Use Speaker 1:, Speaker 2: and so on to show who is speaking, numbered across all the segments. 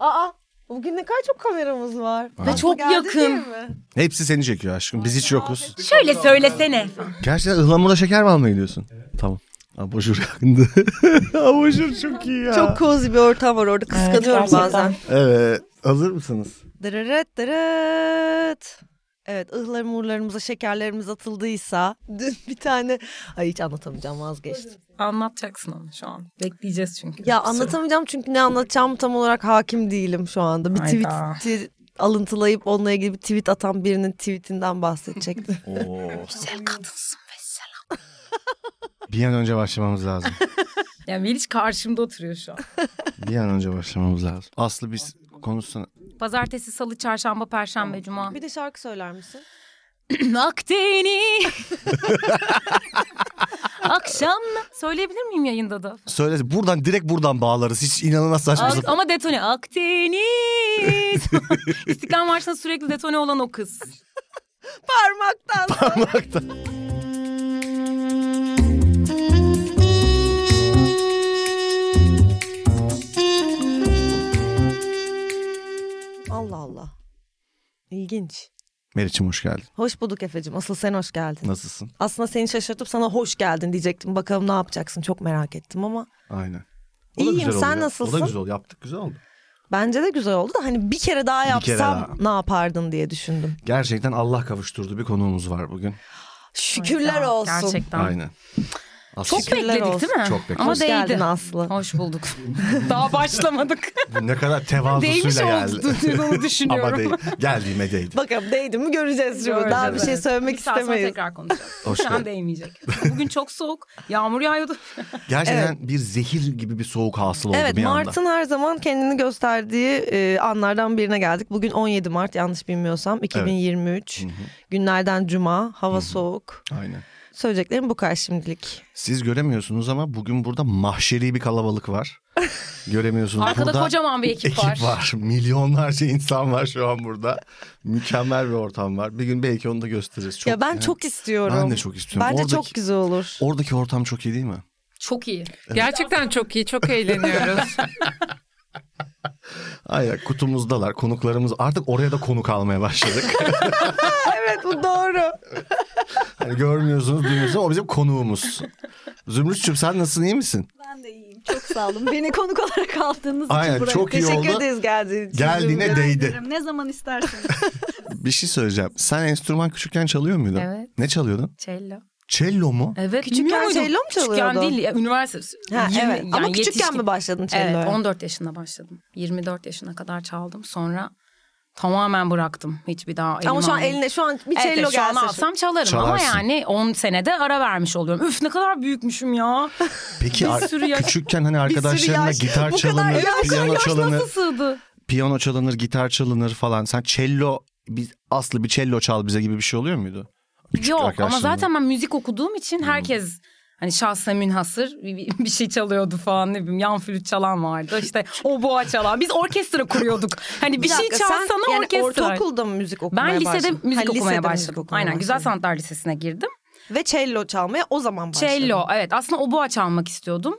Speaker 1: Aa bugün ne kadar çok kameramız var.
Speaker 2: Ve çok
Speaker 1: Geldi değil
Speaker 2: yakın.
Speaker 1: mi?
Speaker 3: Hepsi seni çekiyor aşkım. Biz hiç yokuz.
Speaker 2: Şöyle söylesene.
Speaker 3: Gerçekten ıhlamurla şeker mi almaya gidiyorsun? Tamam. Abajur yakındı. Abajur çok iyi ya.
Speaker 1: Çok cozy bir ortam var orada kıskanıyorum
Speaker 4: gerçekten.
Speaker 1: bazen.
Speaker 3: Evet. Hazır mısınız?
Speaker 1: Dırırıt dırıt. Evet ıhlamurlarımıza şekerlerimiz atıldıysa dün bir tane ay hiç anlatamayacağım vazgeçtim.
Speaker 4: Anlatacaksın ama şu an. Bekleyeceğiz çünkü.
Speaker 1: Ya
Speaker 4: Bir sürü.
Speaker 1: anlatamayacağım çünkü ne anlatacağımı tam olarak hakim değilim şu anda. Bir
Speaker 4: Hayda.
Speaker 1: tweet alıntılayıp onunla ilgili bir tweet atan birinin tweetinden bahsedecektim.
Speaker 4: Güzel kadınsın mesela.
Speaker 3: Bir an önce başlamamız lazım.
Speaker 4: Ya Meriç karşımda oturuyor şu an.
Speaker 3: Bir an önce başlamamız lazım. Aslı biz konuşsana.
Speaker 4: Pazartesi, salı, çarşamba, perşembe, cuma.
Speaker 1: bir de şarkı söyler misin?
Speaker 4: Akdeniz. Akşam söyleyebilir miyim yayında da?
Speaker 3: Söyle buradan direkt buradan bağlarız. Hiç inanılmaz saçma
Speaker 4: Ak-
Speaker 3: sapan.
Speaker 4: ama detone Akdeniz. İstiklal Marşı'nda sürekli detone olan o kız.
Speaker 1: Parmaktan. Allah Allah. İlginç.
Speaker 3: Meriç'im hoş geldin.
Speaker 1: Hoş bulduk Efe'cim. Asıl sen hoş geldin.
Speaker 3: Nasılsın?
Speaker 1: Aslında seni şaşırtıp sana hoş geldin diyecektim. Bakalım ne yapacaksın çok merak ettim ama.
Speaker 3: Aynen.
Speaker 1: İyiyim,
Speaker 3: güzel oldu
Speaker 1: sen
Speaker 3: ya. O
Speaker 1: nasılsın?
Speaker 3: da güzel oldu. Yaptık güzel oldu.
Speaker 1: Bence de güzel oldu da hani bir kere daha yapsam
Speaker 3: kere daha.
Speaker 1: ne yapardın diye düşündüm.
Speaker 3: Gerçekten Allah kavuşturdu bir konuğumuz var bugün.
Speaker 1: Şükürler
Speaker 4: Ya,
Speaker 1: olsun.
Speaker 4: Gerçekten.
Speaker 3: Aynen. Aslı
Speaker 4: Çok
Speaker 3: Çok
Speaker 1: Şükürler
Speaker 4: bekledik
Speaker 1: olsun.
Speaker 4: değil mi?
Speaker 3: Çok bekledik.
Speaker 4: Ama
Speaker 1: Hoş
Speaker 4: değdi.
Speaker 1: geldin Aslı.
Speaker 4: Hoş bulduk. Daha başlamadık.
Speaker 3: ne kadar
Speaker 4: Değmiş
Speaker 3: tevazusuyla geldi.
Speaker 4: oldu onu
Speaker 3: Ama
Speaker 4: düşünüyorum.
Speaker 3: değil. Geldiğime değdi.
Speaker 1: Bakalım değdi mi göreceğiz şimdi. Daha bir şey söylemek
Speaker 4: Bir saat sonra
Speaker 1: istemeyiz.
Speaker 4: tekrar konuşacağız.
Speaker 3: Hoş
Speaker 4: Şu an
Speaker 3: geldin.
Speaker 4: değmeyecek. Bugün çok soğuk. Yağmur yağıyordu.
Speaker 3: Gerçekten bir zehir gibi bir soğuk hasıl oldu
Speaker 1: Evet
Speaker 3: bir anda.
Speaker 1: Mart'ın her zaman kendini gösterdiği e, anlardan birine geldik. Bugün 17 Mart yanlış bilmiyorsam 2023. Günlerden cuma, hava soğuk.
Speaker 3: Aynen.
Speaker 1: Söyleyeceklerim bu kadar şimdilik.
Speaker 3: Siz göremiyorsunuz ama bugün burada mahşeri bir kalabalık var. Göremiyorsunuz.
Speaker 4: Arkada
Speaker 3: burada
Speaker 4: kocaman bir ekip,
Speaker 3: ekip var. Milyonlarca insan var şu an burada. Mükemmel bir ortam var. Bir gün belki onu da gösteririz. Çok,
Speaker 1: ya ben
Speaker 3: yani
Speaker 1: çok istiyorum.
Speaker 3: Ben de çok istiyorum.
Speaker 1: Bence
Speaker 3: Oradaki-
Speaker 1: çok güzel olur.
Speaker 3: Oradaki ortam çok iyi değil mi?
Speaker 4: Çok iyi.
Speaker 5: Gerçekten çok iyi, çok eğleniyoruz.
Speaker 3: Aynen kutumuzdalar konuklarımız artık oraya da konuk almaya başladık.
Speaker 1: evet bu doğru.
Speaker 3: hani görmüyorsunuz duymuyorsunuz ama o bizim konuğumuz. Zümrütçüm sen nasılsın iyi misin?
Speaker 6: Ben de iyiyim. Çok sağ olun. Beni konuk olarak aldığınız
Speaker 3: Aynen
Speaker 6: için buraya
Speaker 3: çok iyi
Speaker 1: Teşekkür
Speaker 3: oldu.
Speaker 1: ederiz geldiğin için.
Speaker 3: Geldiğine
Speaker 6: teşekkür
Speaker 3: değdi.
Speaker 6: ederim. Ne zaman isterseniz.
Speaker 3: Bir şey söyleyeceğim. Sen enstrüman küçükken çalıyor muydun?
Speaker 4: Evet.
Speaker 3: Ne çalıyordun?
Speaker 4: Cello.
Speaker 3: Cello mu?
Speaker 4: Evet.
Speaker 1: Küçükken
Speaker 4: bilmiyor muydun?
Speaker 1: cello mu çalıyordun?
Speaker 4: Küçükken değil. ya, Üniversite.
Speaker 1: Ha,
Speaker 4: yirmi-
Speaker 1: evet. Ama
Speaker 4: yani
Speaker 1: küçükken
Speaker 4: yetişkin.
Speaker 1: mi başladın celloya?
Speaker 4: Evet 14 yaşında başladım. 24 yaşına kadar çaldım. Sonra tamamen bıraktım. Hiçbir daha elime
Speaker 1: Ama şu an
Speaker 4: almadım.
Speaker 1: eline şu an bir
Speaker 4: Evet,
Speaker 1: cello
Speaker 4: evet, şu an
Speaker 1: gelse. şu-
Speaker 4: alsam çalarım ama
Speaker 3: Çalarsın.
Speaker 4: yani 10 senede ara vermiş oluyorum. Üf ne kadar büyükmüşüm ya.
Speaker 3: Peki ar-
Speaker 4: sürü yaş-
Speaker 3: küçükken hani arkadaşlarınla
Speaker 1: yaş.
Speaker 3: gitar
Speaker 1: Bu kadar
Speaker 3: çalınır,
Speaker 1: yaş-
Speaker 3: piyano çalınır,
Speaker 4: Nasıl sığdı?
Speaker 3: piyano çalınır, gitar çalınır falan. Sen cello biz aslı bir cello çal bize gibi bir şey oluyor muydu? Küçük
Speaker 4: Yok ama
Speaker 3: arkadaşlarınla.
Speaker 4: zaten ben müzik okuduğum için herkes hani şahsa münhasır bir, bir- bir şey çalıyordu falan ne bileyim yan flüt çalan vardı işte o boğa çalan biz orkestra kuruyorduk hani bir, şey
Speaker 1: dakika, sen
Speaker 4: çalsana
Speaker 1: yani
Speaker 4: orkestra.
Speaker 1: ortaokulda mı müzik okumaya
Speaker 4: ben lisede
Speaker 1: başladın?
Speaker 4: müzik
Speaker 1: Ha,
Speaker 4: okumaya
Speaker 1: lisede müzik
Speaker 4: başladım.
Speaker 1: okumaya
Speaker 4: Aynen Güzel
Speaker 1: başladın.
Speaker 4: Sanatlar Lisesi'ne girdim.
Speaker 1: Ve cello çalmaya o zaman başladın.
Speaker 4: Cello evet aslında oboa çalmak istiyordum.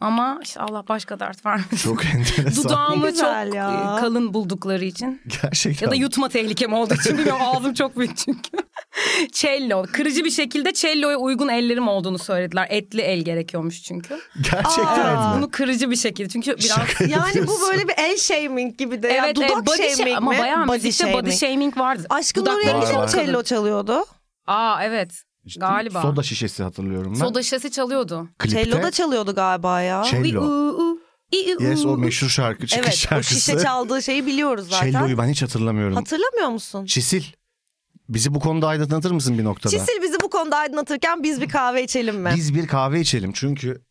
Speaker 4: Ama işte Allah başka dert vermiş.
Speaker 3: Çok enteresan.
Speaker 1: Ne
Speaker 4: Dudağımı çok
Speaker 1: güzel ya.
Speaker 4: e, kalın buldukları için.
Speaker 3: Gerçekten.
Speaker 4: Ya da yutma tehlikem olduğu için bilmiyorum ağzım çok büyük çünkü. Cello. Kırıcı bir şekilde cello'ya uygun ellerim olduğunu söylediler. Etli el gerekiyormuş çünkü.
Speaker 3: Gerçekten
Speaker 1: Aa.
Speaker 3: mi?
Speaker 4: Bunu kırıcı bir şekilde çünkü biraz...
Speaker 1: Yani bu böyle bir el shaming gibi de. ya.
Speaker 4: evet,
Speaker 1: dudak
Speaker 4: evet, body shaming
Speaker 1: shaming
Speaker 4: ama
Speaker 1: mi?
Speaker 4: bayağı
Speaker 1: Body
Speaker 4: müzikte body shaming vardı.
Speaker 1: Aşkın
Speaker 4: Dudak-
Speaker 1: oraya
Speaker 3: Var,
Speaker 1: kim
Speaker 3: var.
Speaker 1: cello çalıyordu?
Speaker 4: Aa evet. Galiba.
Speaker 3: Soda şişesi hatırlıyorum ben.
Speaker 4: Soda şişesi çalıyordu.
Speaker 3: Klipte
Speaker 1: Cello da çalıyordu galiba ya.
Speaker 3: cello. Yes o meşhur şarkı çıkış
Speaker 1: evet o
Speaker 3: şarkısı.
Speaker 1: şişe çaldığı şeyi biliyoruz zaten.
Speaker 3: Cello'yu ben hiç hatırlamıyorum.
Speaker 1: Hatırlamıyor musun?
Speaker 3: Çisil. Bizi bu konuda aydınlatır mısın bir noktada?
Speaker 1: Çisil bizi bu konuda aydınlatırken biz bir kahve içelim mi?
Speaker 3: Biz bir kahve içelim çünkü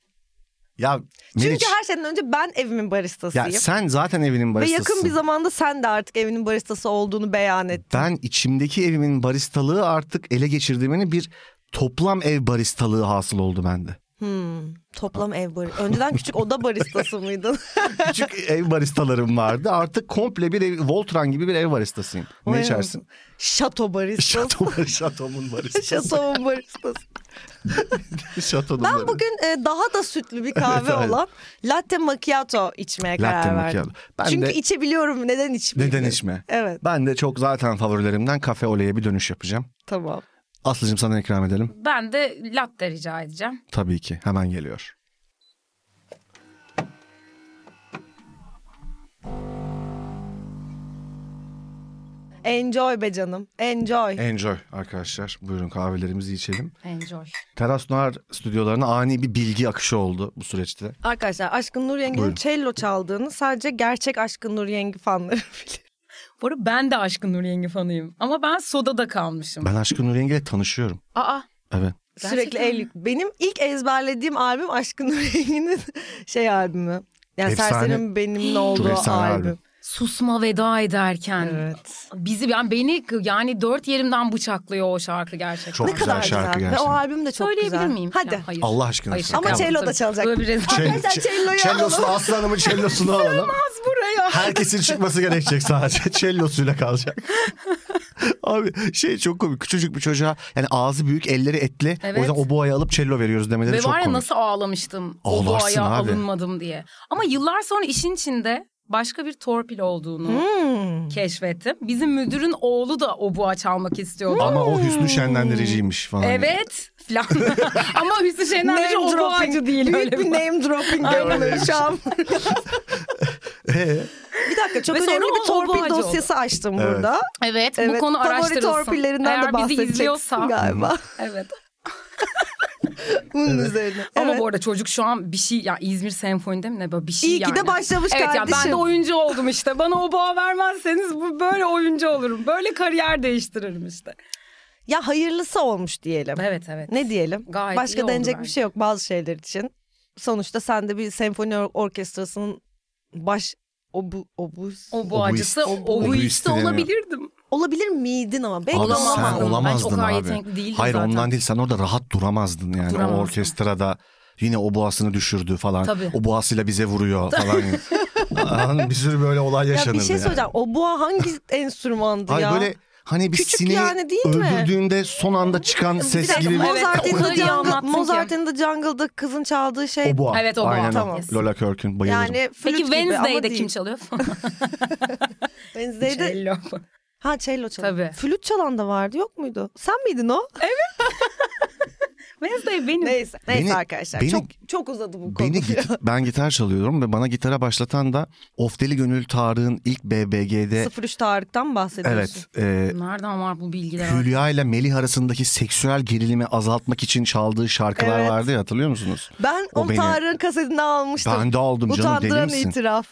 Speaker 3: ya
Speaker 1: Çünkü
Speaker 3: Meriç,
Speaker 1: her şeyden önce ben evimin
Speaker 3: ya
Speaker 1: baristasıyım.
Speaker 3: sen zaten evinin
Speaker 1: Ve
Speaker 3: baristasısın.
Speaker 1: yakın bir zamanda sen de artık evinin baristası olduğunu beyan et.
Speaker 3: Ben içimdeki evimin baristalığı artık ele geçirdiğimin bir toplam ev baristalığı hasıl oldu bende.
Speaker 1: Hmm, toplam ev bari. Önceden küçük oda baristası mıydın?
Speaker 3: Küçük ev baristalarım vardı. Artık komple bir ev, Voltran gibi bir ev baristasıyım. Ne
Speaker 1: Vay
Speaker 3: içersin?
Speaker 1: Şato baristası.
Speaker 3: Şato, şatomun baristası.
Speaker 1: Şatonun baristası.
Speaker 3: Şatonun
Speaker 1: Ben
Speaker 3: baristası.
Speaker 1: bugün e, daha da sütlü bir kahve
Speaker 3: aynen.
Speaker 1: olan latte macchiato içmeye
Speaker 3: Latte
Speaker 1: karar verdim.
Speaker 3: macchiato. Ben
Speaker 1: Çünkü
Speaker 3: de-
Speaker 1: içebiliyorum. Neden içmeyeyim?
Speaker 3: Neden içme?
Speaker 1: Evet
Speaker 3: Ben de çok zaten favorilerimden kafe oleye bir dönüş yapacağım.
Speaker 1: tamam.
Speaker 3: Aslıcığım sana ikram edelim.
Speaker 4: Ben de latte rica edeceğim.
Speaker 3: Tabii ki hemen geliyor.
Speaker 1: Enjoy be canım. Enjoy.
Speaker 3: Enjoy arkadaşlar. Buyurun kahvelerimizi içelim.
Speaker 4: Enjoy.
Speaker 3: Teras Noir stüdyolarına ani bir bilgi akışı oldu bu süreçte.
Speaker 1: Arkadaşlar Aşkın Nur Yengi'nin
Speaker 3: Buyurun.
Speaker 1: cello çaldığını sadece gerçek Aşkın Nur Yengi fanları bilir.
Speaker 4: Bu arada ben de Aşkın Nur Yengi fanıyım. Ama ben sodada kalmışım.
Speaker 3: Ben Aşkın Nur Yengi'yle tanışıyorum.
Speaker 4: Aa
Speaker 3: Evet.
Speaker 4: Gerçekten
Speaker 1: Sürekli
Speaker 4: mi?
Speaker 1: el yük- Benim ilk ezberlediğim albüm Aşkın Nur Yengi'nin şey albümü. Yani
Speaker 3: Efsane.
Speaker 1: Serserim benimle olduğu
Speaker 3: efsane
Speaker 1: albüm.
Speaker 3: albüm.
Speaker 4: susma veda ederken.
Speaker 1: Evet.
Speaker 4: Bizi yani beni yani dört yerimden bıçaklıyor o şarkı gerçekten.
Speaker 3: Çok
Speaker 1: ne
Speaker 3: güzel
Speaker 1: kadar güzel.
Speaker 3: şarkı
Speaker 1: Ve
Speaker 3: gerçekten.
Speaker 1: o albüm de çok
Speaker 4: Söyleyebilir
Speaker 1: güzel.
Speaker 4: miyim?
Speaker 1: Hadi.
Speaker 4: Ya, hayır.
Speaker 3: Allah aşkına.
Speaker 4: Hayır,
Speaker 3: sen.
Speaker 1: Ama
Speaker 4: şaka
Speaker 1: cello
Speaker 4: yaptım.
Speaker 1: da çalacak.
Speaker 4: Böyle bir rezalet.
Speaker 3: Şey-
Speaker 1: Arkadaşlar celloyu
Speaker 3: Çellosunu
Speaker 1: alalım.
Speaker 3: Aslı Hanım'ın çellosunu alalım.
Speaker 4: buraya.
Speaker 3: Herkesin çıkması gerekecek sadece. Çellosuyla kalacak. Abi şey çok komik. Küçücük bir çocuğa yani ağzı büyük elleri etli. O
Speaker 4: Evet.
Speaker 3: yüzden o boğayı alıp cello veriyoruz demeleri
Speaker 4: Ve
Speaker 3: çok
Speaker 4: var ya
Speaker 3: komik.
Speaker 4: nasıl ağlamıştım. o
Speaker 3: Ağlarsın
Speaker 4: boğaya
Speaker 3: abi.
Speaker 4: alınmadım diye. Ama yıllar sonra işin içinde başka bir torpil olduğunu
Speaker 1: Hmm.
Speaker 4: keşfettim. Bizim müdürün oğlu da o boğa çalmak istiyordu.
Speaker 3: Ama o Hüsnü şenlendiriciymiş falan.
Speaker 4: Evet falan. Ama Hüsnü Şener
Speaker 1: Name
Speaker 4: o
Speaker 1: dropping.
Speaker 4: boğacı değil.
Speaker 1: Büyük bir name dropping yapılıyor şu an.
Speaker 3: Ee,
Speaker 1: Bir dakika çok
Speaker 4: Ve sonra
Speaker 1: önemli bir
Speaker 4: o- o
Speaker 1: torpil
Speaker 4: boğacı oldu.
Speaker 1: dosyası açtım
Speaker 3: Evet.
Speaker 1: burada.
Speaker 4: Evet, bu
Speaker 1: Evet,
Speaker 4: konu
Speaker 1: favori
Speaker 4: araştırılsın.
Speaker 1: torpillerinden de
Speaker 4: Eğer bizi
Speaker 1: bahsedeceksin
Speaker 4: izliyorsa.
Speaker 1: galiba.
Speaker 4: Evet.
Speaker 1: Bunun üzerine.
Speaker 4: Ama
Speaker 1: Evet.
Speaker 4: bu arada çocuk şu an bir şey ya İzmir Senfoni'de mi ne böyle bir şey
Speaker 1: İyi ki
Speaker 4: yani.
Speaker 1: de başlamış
Speaker 4: Evet ya
Speaker 1: kardeşim.
Speaker 4: ben de oyuncu oldum işte. Bana o boğa vermezseniz bu böyle oyuncu olurum. Böyle kariyer değiştiririm işte.
Speaker 1: Ya hayırlısı olmuş diyelim.
Speaker 4: Evet evet.
Speaker 1: Ne diyelim?
Speaker 4: Gayet iyi
Speaker 1: Başka
Speaker 4: oldu
Speaker 1: denecek bir
Speaker 4: bence.
Speaker 1: şey yok bazı şeyler için. Sonuçta sen de bir senfoni or- orkestrasının baş obu, obuz
Speaker 4: O boğacısı,
Speaker 3: Oboist.
Speaker 4: o
Speaker 3: Oboist
Speaker 4: oboisti
Speaker 3: deniyor.
Speaker 4: olabilirdim.
Speaker 1: olabilir miydin ama belki
Speaker 3: Abi
Speaker 1: olamazdın.
Speaker 3: sen olamazdın
Speaker 4: Ben o kadar
Speaker 3: abi.
Speaker 4: yetenekli değildim
Speaker 3: Hayır
Speaker 4: zaten.
Speaker 3: ondan değil sen orada rahat duramazdın yani. O
Speaker 4: Duramazdım.
Speaker 3: orkestrada yine o boğasını düşürdü falan.
Speaker 4: Tabii.
Speaker 3: O boğasıyla bize vuruyor falan. Anladın mı? bir sürü böyle olay
Speaker 1: Ya
Speaker 3: yaşanırdı.
Speaker 1: bir şey
Speaker 3: yani.
Speaker 1: söyleyeceğim. O boğa hangi enstrümandı
Speaker 3: Hayır
Speaker 1: ya?
Speaker 3: böyle hani bir
Speaker 1: Küçük
Speaker 3: sineği
Speaker 1: yani değil mi?
Speaker 3: öldürdüğünde son anda çıkan ses
Speaker 4: dakika,
Speaker 3: gibi bir...
Speaker 4: Evet,
Speaker 1: Mozart'ın
Speaker 4: o kadar
Speaker 1: The
Speaker 4: iyi
Speaker 1: Jungle,
Speaker 4: anlattın ki.
Speaker 1: Mozart'ın The Jungle'da kızın çaldığı şey.
Speaker 3: O boğa.
Speaker 4: Evet, o boğa.
Speaker 3: Aynen
Speaker 1: Tamam.
Speaker 3: Lola Körk'ün bayılırım.
Speaker 1: Yani flüt
Speaker 4: Peki
Speaker 1: gibi ama
Speaker 4: Wednesday'de
Speaker 1: değil.
Speaker 4: kim çalıyor?
Speaker 1: Wednesday'de
Speaker 4: Cello.
Speaker 1: ha cello çalan.
Speaker 4: Tabii.
Speaker 1: Flüt çalan da vardı yok muydu? Sen miydin o?
Speaker 4: Wednesday benim.
Speaker 1: Neyse. Neyse
Speaker 3: Beni-
Speaker 1: arkadaşlar.
Speaker 3: beni-
Speaker 1: çok çok uzadı bu konu.
Speaker 3: Beni git- ben gitar çalıyorum ve bana gitara başlatan da Of Deli Gönül Tarık'ın ilk BBG'de
Speaker 1: 03 Tarık'tan bahsediyorsun.
Speaker 3: evet e,
Speaker 4: Nereden var bu bilgiler?
Speaker 3: Hülya ile Melih arasındaki seksüel gerilimi azaltmak için çaldığı şarkılar
Speaker 1: Evet.
Speaker 3: vardı ya hatırlıyor musunuz?
Speaker 1: Ben
Speaker 3: O
Speaker 1: o
Speaker 3: beni-
Speaker 1: Tarık'ın kasetini almıştım.
Speaker 3: Ben de aldım canım deli
Speaker 1: Utandıran
Speaker 3: misin?
Speaker 1: itiraf.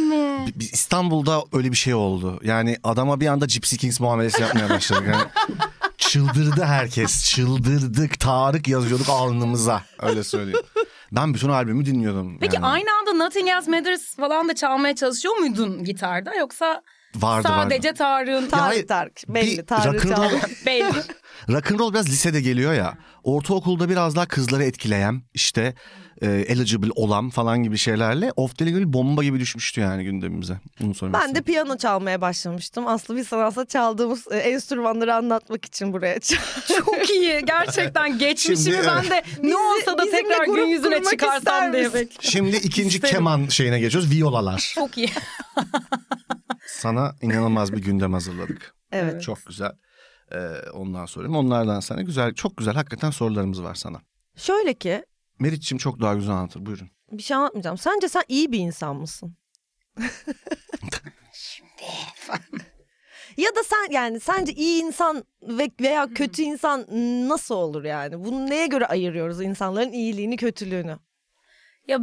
Speaker 4: mi?
Speaker 3: Biz İstanbul'da öyle bir şey oldu. Yani adama bir anda Gypsy Kings muamelesi yapmaya başladık. Yani çıldırdı herkes. Çıldırdık. Tarık yazıyorduk alnımıza. Öyle söyleyeyim. Ben bütün albümü dinliyordum.
Speaker 4: Peki
Speaker 3: yani.
Speaker 4: aynı anda Nothing Else Matters falan da çalmaya çalışıyor muydun gitarda yoksa
Speaker 3: vardı, vardı.
Speaker 4: sadece Tarık'ın
Speaker 3: Ya
Speaker 1: Tarık
Speaker 3: hayır,
Speaker 1: Tarık. Belli
Speaker 3: bir
Speaker 1: Tarık
Speaker 3: rock'n'roll-
Speaker 1: Tarık.
Speaker 4: belli?
Speaker 3: Rock'n'roll biraz lisede geliyor ya. Ortaokulda biraz daha kızları etkileyen işte e, eligible olan falan gibi şeylerle Of Deli Gönül bomba gibi düşmüştü yani gündemimize. Bunu söylemek
Speaker 1: Ben de piyano çalmaya başlamıştım. Aslı bir sanatsa çaldığımız e, enstrümanları anlatmak için buraya
Speaker 4: Çok iyi gerçekten geçmişimi
Speaker 3: Şimdi,
Speaker 4: ben de ne olsa da
Speaker 1: bizimle
Speaker 4: tekrar
Speaker 1: grup
Speaker 4: gün yüzüne
Speaker 1: kurmak ister
Speaker 4: çıkarsam diye
Speaker 1: misin?
Speaker 4: bekliyorum.
Speaker 3: Şimdi ikinci
Speaker 4: İsterim.
Speaker 3: keman şeyine geçiyoruz. Viyolalar.
Speaker 4: Çok iyi.
Speaker 3: Sana inanılmaz bir gündem hazırladık.
Speaker 1: Evet.
Speaker 3: Çok güzel. Ee, ondan sorayım. Onlardan sana güzel, çok güzel hakikaten sorularımız var sana.
Speaker 1: Şöyle ki
Speaker 3: Meriç'im çok daha güzel anlatır. Buyurun.
Speaker 1: bir şey anlatmayacağım. Sence sen iyi bir insan mısın? ya da sen yani sence iyi insan ve veya kötü insan nasıl olur yani? Bunu neye göre ayırıyoruz insanların iyiliğini, kötülüğünü?
Speaker 4: Ya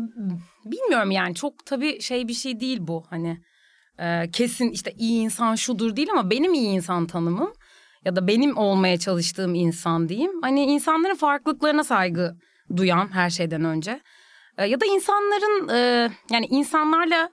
Speaker 4: bilmiyorum yani çok tabii şey bir şey değil bu hani e, kesin işte iyi insan şudur değil ama benim iyi insan tanımım ya da benim olmaya çalıştığım insan diyeyim. Hani insanların farklılıklarına saygı duyan her şeyden önce E, ya da insanların e, yani insanlarla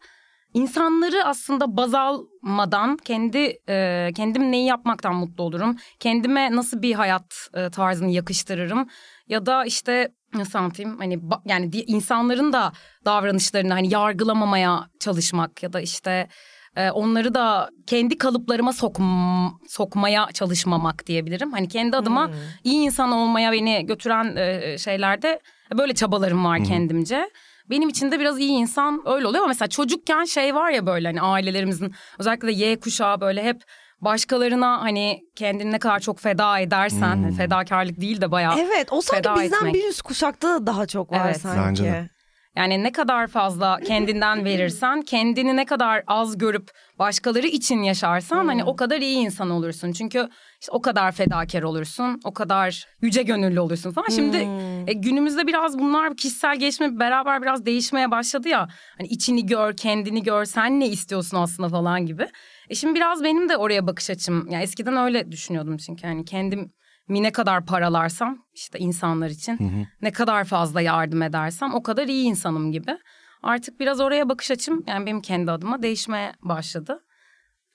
Speaker 4: İnsanları aslında baz almadan kendi e, kendim neyi yapmaktan mutlu olurum. Kendime nasıl bir hayat e, tarzını yakıştırırım ya da işte nasıl anlatayım hani ba- yani di- insanların da davranışlarını hani yargılamamaya çalışmak ya da işte e, onları da kendi kalıplarıma sokm- sokmaya çalışmamak diyebilirim. Hani kendi adıma iyi insan olmaya beni götüren e, şeylerde böyle çabalarım var kendimce. Benim için de biraz iyi insan öyle oluyor ama mesela çocukken şey var ya böyle hani ailelerimizin özellikle de Y kuşağı böyle hep başkalarına hani kendini ne kadar çok feda edersen hani fedakarlık değil de bayağı
Speaker 1: Evet o sanki
Speaker 4: Feda
Speaker 1: bizden
Speaker 4: etmek.
Speaker 1: bir üst kuşakta da daha çok var
Speaker 4: Evet.
Speaker 1: sanki.
Speaker 3: Bence de.
Speaker 4: Yani ne kadar fazla kendinden verirsen, kendini ne kadar az görüp başkaları için yaşarsan hani o kadar iyi insan olursun. Çünkü işte o kadar fedakar olursun, o kadar yüce gönüllü olursun falan. Şimdi e, günümüzde biraz bunlar kişisel gelişme beraber biraz değişmeye başladı ya. Hani içini gör, kendini gör, sen ne istiyorsun aslında falan gibi. E şimdi biraz benim de oraya bakış açım. Yani eskiden öyle düşünüyordum çünkü hani kendim mi ne kadar paralarsam işte insanlar için ne kadar fazla yardım edersem o kadar iyi insanım gibi. Artık biraz oraya bakış açım yani benim kendi adıma değişmeye başladı.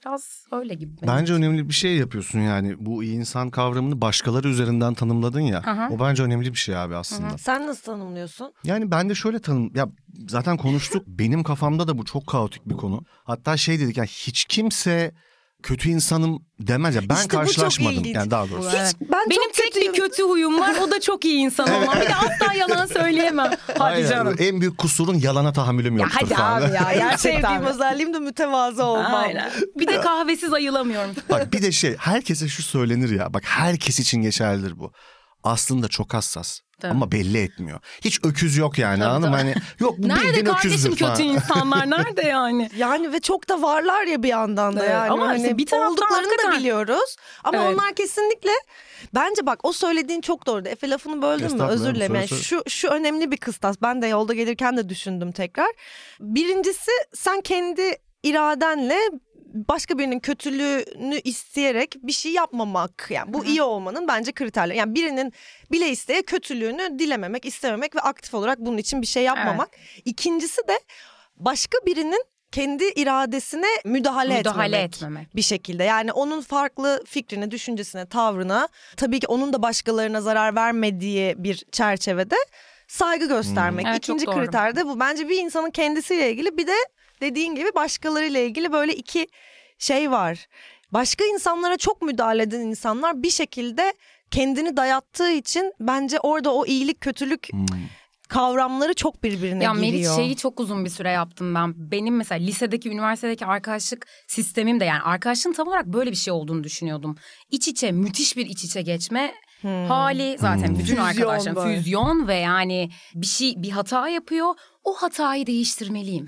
Speaker 4: Biraz öyle gibi. benim.
Speaker 3: Bence önemli bir şey yapıyorsun yani. Bu iyi insan kavramını başkaları üzerinden tanımladın ya. O bence önemli bir şey abi aslında.
Speaker 1: Sen nasıl tanımlıyorsun?
Speaker 3: Yani ben de şöyle tanım ya zaten konuştuk benim kafamda da bu çok kaotik bir konu. Hatta şey dedik yani hiç kimse kötü insanım demez ya ben
Speaker 1: İşte bu çok
Speaker 3: karşılaşmadım
Speaker 1: ilginç.
Speaker 3: yani daha doğrusu.
Speaker 4: Evet.
Speaker 1: Hiç- ben
Speaker 4: benim
Speaker 1: çok
Speaker 4: tek
Speaker 1: kötüyüm.
Speaker 4: bir kötü huyum var o da çok iyi insan olmam. Bir de asla yalan söyleyemem. Hadi
Speaker 3: Aynen.
Speaker 4: canım.
Speaker 3: En büyük kusurun yalana tahammülüm
Speaker 4: Ya
Speaker 3: yoktur
Speaker 4: hadi
Speaker 3: falan.
Speaker 4: abi ya
Speaker 1: En sevdiğim
Speaker 4: gerçekten.
Speaker 1: özelliğim de mütevazı olmam.
Speaker 4: Aynen. Bir de kahvesiz ayılamıyorum.
Speaker 3: Bak bir de şey herkese şu söylenir ya bak herkes için geçerlidir bu. Aslında çok hassas
Speaker 4: Tabii.
Speaker 3: ama belli etmiyor. Hiç öküz yok yani anladın mı? Hani yok bu
Speaker 4: Nerede
Speaker 3: bildiğin
Speaker 4: kardeşim
Speaker 3: öküzdür falan.
Speaker 4: kötü insanlar nerede yani?
Speaker 1: Yani ve çok da varlar ya bir yandan da
Speaker 4: Evet,
Speaker 1: yani.
Speaker 4: ama
Speaker 1: hani
Speaker 4: işte bir taraftan
Speaker 1: olduklarını da
Speaker 4: hakikaten-
Speaker 1: biliyoruz. Ama
Speaker 4: Evet.
Speaker 1: onlar kesinlikle bence bak o söylediğin çok doğru. Efe lafını böldüm mü?
Speaker 3: Estağfurullah,
Speaker 1: Özür dilerim.
Speaker 3: söyle,
Speaker 1: Yani
Speaker 3: söyle.
Speaker 1: şu şu önemli bir kıstas. Ben de yolda gelirken de düşündüm tekrar. Birincisi sen kendi iradenle başka birinin kötülüğünü isteyerek bir şey yapmamak. Yani bu iyi olmanın bence kriterleri. Yani birinin bile isteye kötülüğünü dilememek, istememek ve aktif olarak bunun için bir şey yapmamak. İkincisi de başka birinin kendi iradesine müdahale,
Speaker 4: Müdahale
Speaker 1: etmemek.
Speaker 4: etmemek.
Speaker 1: Bir şekilde yani onun farklı fikrine, düşüncesine, tavrına tabii ki onun da başkalarına zarar vermediği bir çerçevede saygı göstermek.
Speaker 4: Evet, çok
Speaker 1: İkinci
Speaker 4: doğru.
Speaker 1: kriter de bu. Bence bir insanın kendisiyle ilgili bir de dediğin gibi başkalarıyla ilgili böyle iki şey var. Başka insanlara çok müdahale eden insanlar bir şekilde kendini dayattığı için bence orada o iyilik kötülük kavramları çok birbirine
Speaker 4: Ya
Speaker 1: giriyor.
Speaker 4: Meriç şeyi çok uzun bir süre yaptım ben. Benim mesela lisedeki, üniversitedeki arkadaşlık sistemim de yani arkadaşlığın tam olarak böyle bir şey olduğunu düşünüyordum. İç içe, müthiş bir iç içe geçme hali zaten bütün
Speaker 1: Füzyon
Speaker 4: arkadaşlarım
Speaker 1: böyle.
Speaker 4: füzyon ve yani bir şey bir hata yapıyor. O hatayı değiştirmeliyim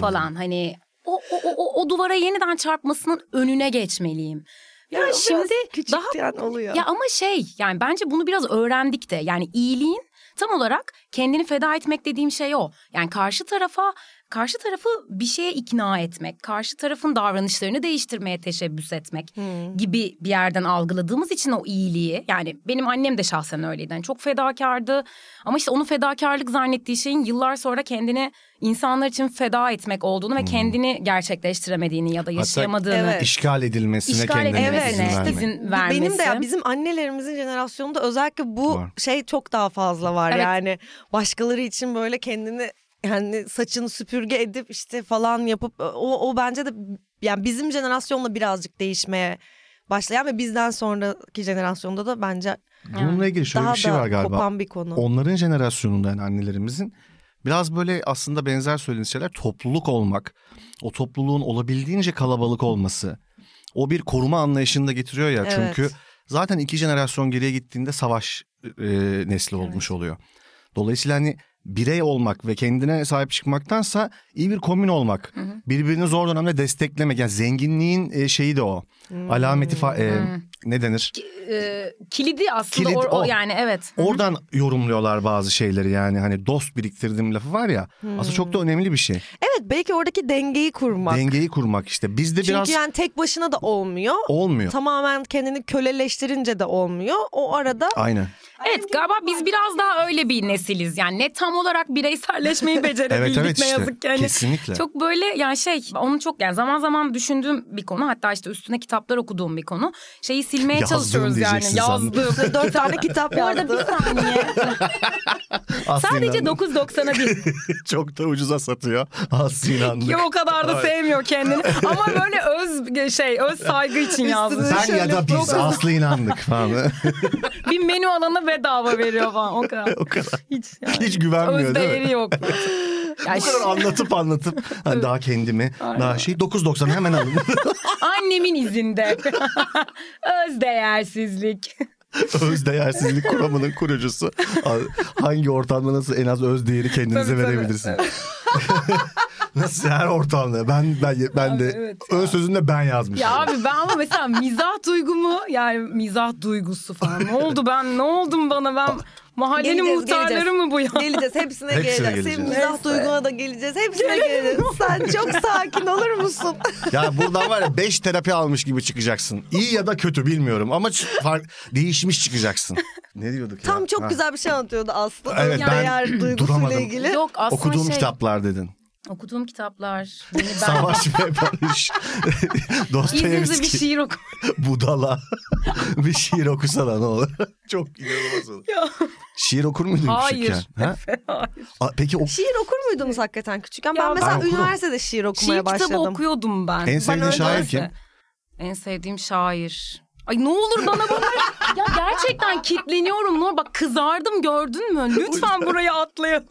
Speaker 4: falan hani o, o, o, o, o duvara yeniden çarpmasının önüne geçmeliyim. Ya,
Speaker 1: Ya biraz
Speaker 4: şimdi
Speaker 1: küçük
Speaker 4: daha
Speaker 1: yani oluyor.
Speaker 4: ya ama şey yani bence bunu biraz öğrendik de yani iyiliğin tam olarak kendini feda etmek dediğim şey o. Yani karşı tarafa karşı tarafı bir şeye ikna etmek, karşı tarafın davranışlarını değiştirmeye teşebbüs etmek gibi bir yerden algıladığımız için o iyiliği yani benim annem de şahsen öyleydi. Yani çok fedakardı ama işte onun fedakarlık zannettiği şeyin yıllar sonra kendini insanlar için feda etmek olduğunu ve kendini gerçekleştiremediğini ya da yaşayamadığını
Speaker 1: Evet.
Speaker 3: İşgal edilmesine
Speaker 4: işgal
Speaker 3: kendine
Speaker 4: edilmesine
Speaker 3: izin
Speaker 1: Evet.
Speaker 3: vermek.
Speaker 4: izin vermesi.
Speaker 1: Benim de ya bizim annelerimizin jenerasyonunda özellikle bu
Speaker 3: Var.
Speaker 1: şey çok daha fazla var
Speaker 4: Evet.
Speaker 1: yani başkaları için böyle kendini yani saçını süpürge edip işte falan yapıp e, o, o bence de yani bizim jenerasyonla birazcık değişmeye başlayan ve bizden sonraki jenerasyonda da bence
Speaker 3: Bununla ilgili şöyle
Speaker 1: daha
Speaker 3: bir şey
Speaker 1: da
Speaker 3: var galiba.
Speaker 1: kopan bir konu.
Speaker 3: Onların jenerasyonunda yani annelerimizin biraz böyle aslında benzer söylediğiniz şeyler topluluk olmak. O topluluğun olabildiğince kalabalık olması. O bir koruma anlayışını da getiriyor ya.
Speaker 1: Evet.
Speaker 3: Çünkü zaten iki jenerasyon geriye gittiğinde savaş e, nesli olmuş oluyor. Dolayısıyla hani birey olmak ve kendine sahip çıkmaktansa iyi bir komün olmak. Birbirini zor dönemde desteklemek. Yani zenginliğin e, şeyi de o. Alameti fa- e, ne denir?
Speaker 4: Ee, kilidi aslında
Speaker 3: Kilit
Speaker 4: or- o
Speaker 3: o.
Speaker 4: yani evet.
Speaker 3: Oradan yorumluyorlar bazı şeyleri yani hani dost biriktirdim lafı var ya.
Speaker 4: Hmm.
Speaker 3: Aslında çok da önemli bir şey.
Speaker 1: Evet belki oradaki dengeyi kurmak.
Speaker 3: Dengeyi kurmak işte. Bizde
Speaker 1: Çünkü
Speaker 3: biraz
Speaker 1: yani tek başına da olmuyor.
Speaker 3: olmuyor.
Speaker 1: Tamamen kendini köleleştirince de olmuyor. O arada
Speaker 3: Aynen.
Speaker 4: Evet galiba biz biraz daha öyle bir nesiliz. Yani ne tam olarak bireyselleşmeyi becerebildik
Speaker 3: Evet evet
Speaker 4: ne
Speaker 3: işte.
Speaker 4: yazık ki. Yani
Speaker 3: Kesinlikle.
Speaker 4: Çok böyle yani şey onu çok yani zaman zaman düşündüğüm bir konu hatta işte üstüne kitaplar okuduğum bir konu. Şeyi silmeye
Speaker 3: Yazdığım
Speaker 4: çalışıyoruz yani
Speaker 3: diyeceksin sandım.
Speaker 4: yazdığım.
Speaker 1: dört tane kitap
Speaker 4: Bu arada
Speaker 1: vardı.
Speaker 4: bir saniye. Sadece 9.90'a bir.
Speaker 3: çok da ucuza satıyor. Az inandık.
Speaker 4: Kim o kadar da sevmiyor kendini. Ama böyle öz şey öz saygı için yazmış.
Speaker 3: Sen ya da biz Aslı inandık falan.
Speaker 4: Bir menü alana bedava veriyor falan o kadar.
Speaker 3: o kadar.
Speaker 4: Hiç yani.
Speaker 3: Hiç güvenmiyor
Speaker 4: Öz
Speaker 3: değil mi?
Speaker 4: değeri yok. Ya
Speaker 3: Bu kadar
Speaker 4: şu-
Speaker 3: anlatıp anlatıp hani daha kendimi daha şey 9.90 hemen alın.
Speaker 4: annemin izinde. Öz değersizlik.
Speaker 3: öz değersizlik kuramının kurucusu. Hangi ortamda nasıl en az öz değeri kendinize
Speaker 4: Tabii, tabii.
Speaker 3: verebilirsiniz. nasıl her ortamda ben ben ben de
Speaker 4: Abi, evet ya.
Speaker 3: ön sözünde ben yazmışım.
Speaker 4: Ya abi ben ama mesela mizah duygumu yani mizah duygusu falan. Ne oldu ben ne oldum bana ben mahallenin
Speaker 1: Geleceğiz,
Speaker 4: muhtarları
Speaker 1: geleceğim.
Speaker 4: mı bu ya?
Speaker 1: Geleceğiz hepsine,
Speaker 3: Hepsine
Speaker 1: geleceğiz. Senin
Speaker 3: geleceğiz.
Speaker 1: mizah duyguna da geleceğiz. Hepsine geleceğiz. Sen çok sakin olur musun?
Speaker 3: Ya buradan var ya 5 terapi almış gibi çıkacaksın. İyi ya da kötü bilmiyorum ama ç- fark değişmiş çıkacaksın. Ne diyorduk ya?
Speaker 1: Tam çok
Speaker 3: Ha.
Speaker 1: güzel bir şey anlatıyordu Aslı.
Speaker 3: Evet,
Speaker 1: Ön
Speaker 3: ben
Speaker 1: değer duygusuyla
Speaker 3: duramadım.
Speaker 1: ilgili.
Speaker 4: Yok aslında
Speaker 3: Okuduğum
Speaker 4: şey
Speaker 3: kitaplar dedin.
Speaker 4: okuduğum kitaplar. Beni ben
Speaker 3: Savaş ve Barış.
Speaker 4: İzninizle bir şey
Speaker 3: Dostoyevski.
Speaker 4: şiir oku.
Speaker 3: Budala. bir şiir okusana ne olur. Çok inanılmaz olur.
Speaker 4: Ya.
Speaker 3: Şiir okur muydun
Speaker 4: Hayır.
Speaker 3: küçükken? Ha? A, peki o
Speaker 1: Şiir okur muydunuz hakikaten küçükken?
Speaker 4: Ya
Speaker 1: Ben mesela
Speaker 3: ben okurum.
Speaker 1: üniversitede şiir okumaya
Speaker 4: Şiir kitabı
Speaker 1: başladım.
Speaker 4: okuyordum ben.
Speaker 3: En sevdiğin
Speaker 4: Ben
Speaker 3: şair
Speaker 4: öyleyse-
Speaker 3: kim?
Speaker 4: En sevdiğim şair. Ay ne olur bana bunu. ya gerçekten kitleniyorum Nur. Bak kızardım gördün mü? Lütfen burayı atlayalım.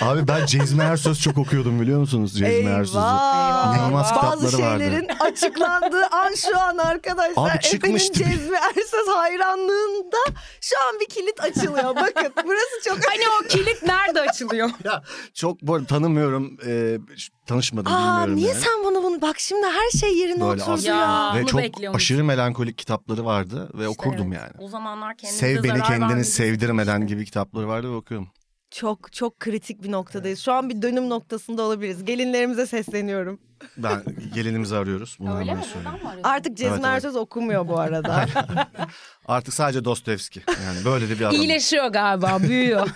Speaker 3: abi ben Cezmi Ersöz çok okuyordum biliyor musunuz Cezmi Ersöz'ü?
Speaker 1: Eyvah.
Speaker 3: İnanılmaz
Speaker 1: Bazı
Speaker 3: kitapları vardı.
Speaker 1: şeylerin açıklandığı an şu an arkadaşlar.
Speaker 3: Abi
Speaker 1: Efe'nin
Speaker 3: çıkmıştı bir-
Speaker 1: Cezmi Ersöz hayranlığında şu an bir kilit açılıyor. Bakın burası çok...
Speaker 4: Hani o kilit nerede açılıyor?
Speaker 3: Ya çok bu arada tanımıyorum. E, ş- tanışmadım
Speaker 1: Aa
Speaker 3: bilmiyorum.
Speaker 1: niye
Speaker 3: yani.
Speaker 1: sen bana bunu... Bak şimdi her şey yerine
Speaker 3: Böyle
Speaker 1: oturdu
Speaker 3: as-
Speaker 1: ya.
Speaker 4: Ya.
Speaker 3: Ve
Speaker 4: Bunu
Speaker 3: çok
Speaker 4: bekliyormuş.
Speaker 3: aşırı melankolik kitapları vardı ve okurdum
Speaker 4: Evet.
Speaker 3: yani.
Speaker 4: O zamanlar kendimize
Speaker 3: Sev beni
Speaker 4: zarar
Speaker 3: kendini
Speaker 4: vermedik.
Speaker 3: sevdirmeden gibi kitapları vardı ve okuyorum.
Speaker 1: Çok çok kritik bir noktadayız. Şu an bir dönüm noktasında olabiliriz. Gelinlerimize sesleniyorum.
Speaker 3: Ben gelinimizi arıyoruz. Bunu
Speaker 4: Öyle
Speaker 3: hemen
Speaker 4: mi?
Speaker 3: söyleyeyim.
Speaker 4: Buradan mı arıyorsun?
Speaker 1: Artık Cezmi
Speaker 3: Evet, evet.
Speaker 1: Ersöz okumuyor bu arada.
Speaker 3: Artık sadece Dostoyevski. Yani böyle de bir adam.
Speaker 4: İyileşiyor galiba büyüyor.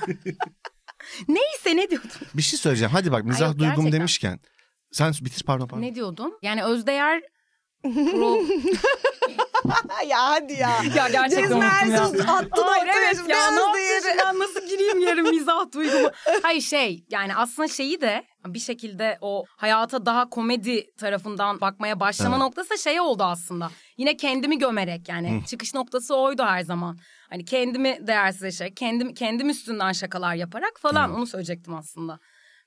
Speaker 4: Neyse ne diyordum?
Speaker 3: Bir şey söyleyeceğim. Hadi bak mizah
Speaker 4: Ay yok,
Speaker 3: duygum
Speaker 4: gerçekten.
Speaker 3: demişken. Sen bitir pardon pardon.
Speaker 4: Ne diyordum? Yani özdeğer pro...
Speaker 1: ya hadi ya.
Speaker 4: ya gerçekten
Speaker 1: Cezmi
Speaker 4: unuttum ya.
Speaker 1: Ersöz attın
Speaker 4: Hayır
Speaker 1: ortaya.
Speaker 4: evet
Speaker 1: şimdi
Speaker 4: ya ne
Speaker 1: öz
Speaker 4: yaptın
Speaker 1: değeri.
Speaker 4: şimdi? ben nasıl gireyim yerim mizah duygumu. Hayır şey yani aslında şeyi de bir şekilde o hayata daha komedi tarafından bakmaya başlama
Speaker 3: Evet.
Speaker 4: noktası da şey oldu aslında. Yine kendimi gömerek yani çıkış noktası oydu her zaman. Hani kendimi değersizleşerek kendim, kendim üstünden şakalar yaparak falan onu söyleyecektim aslında.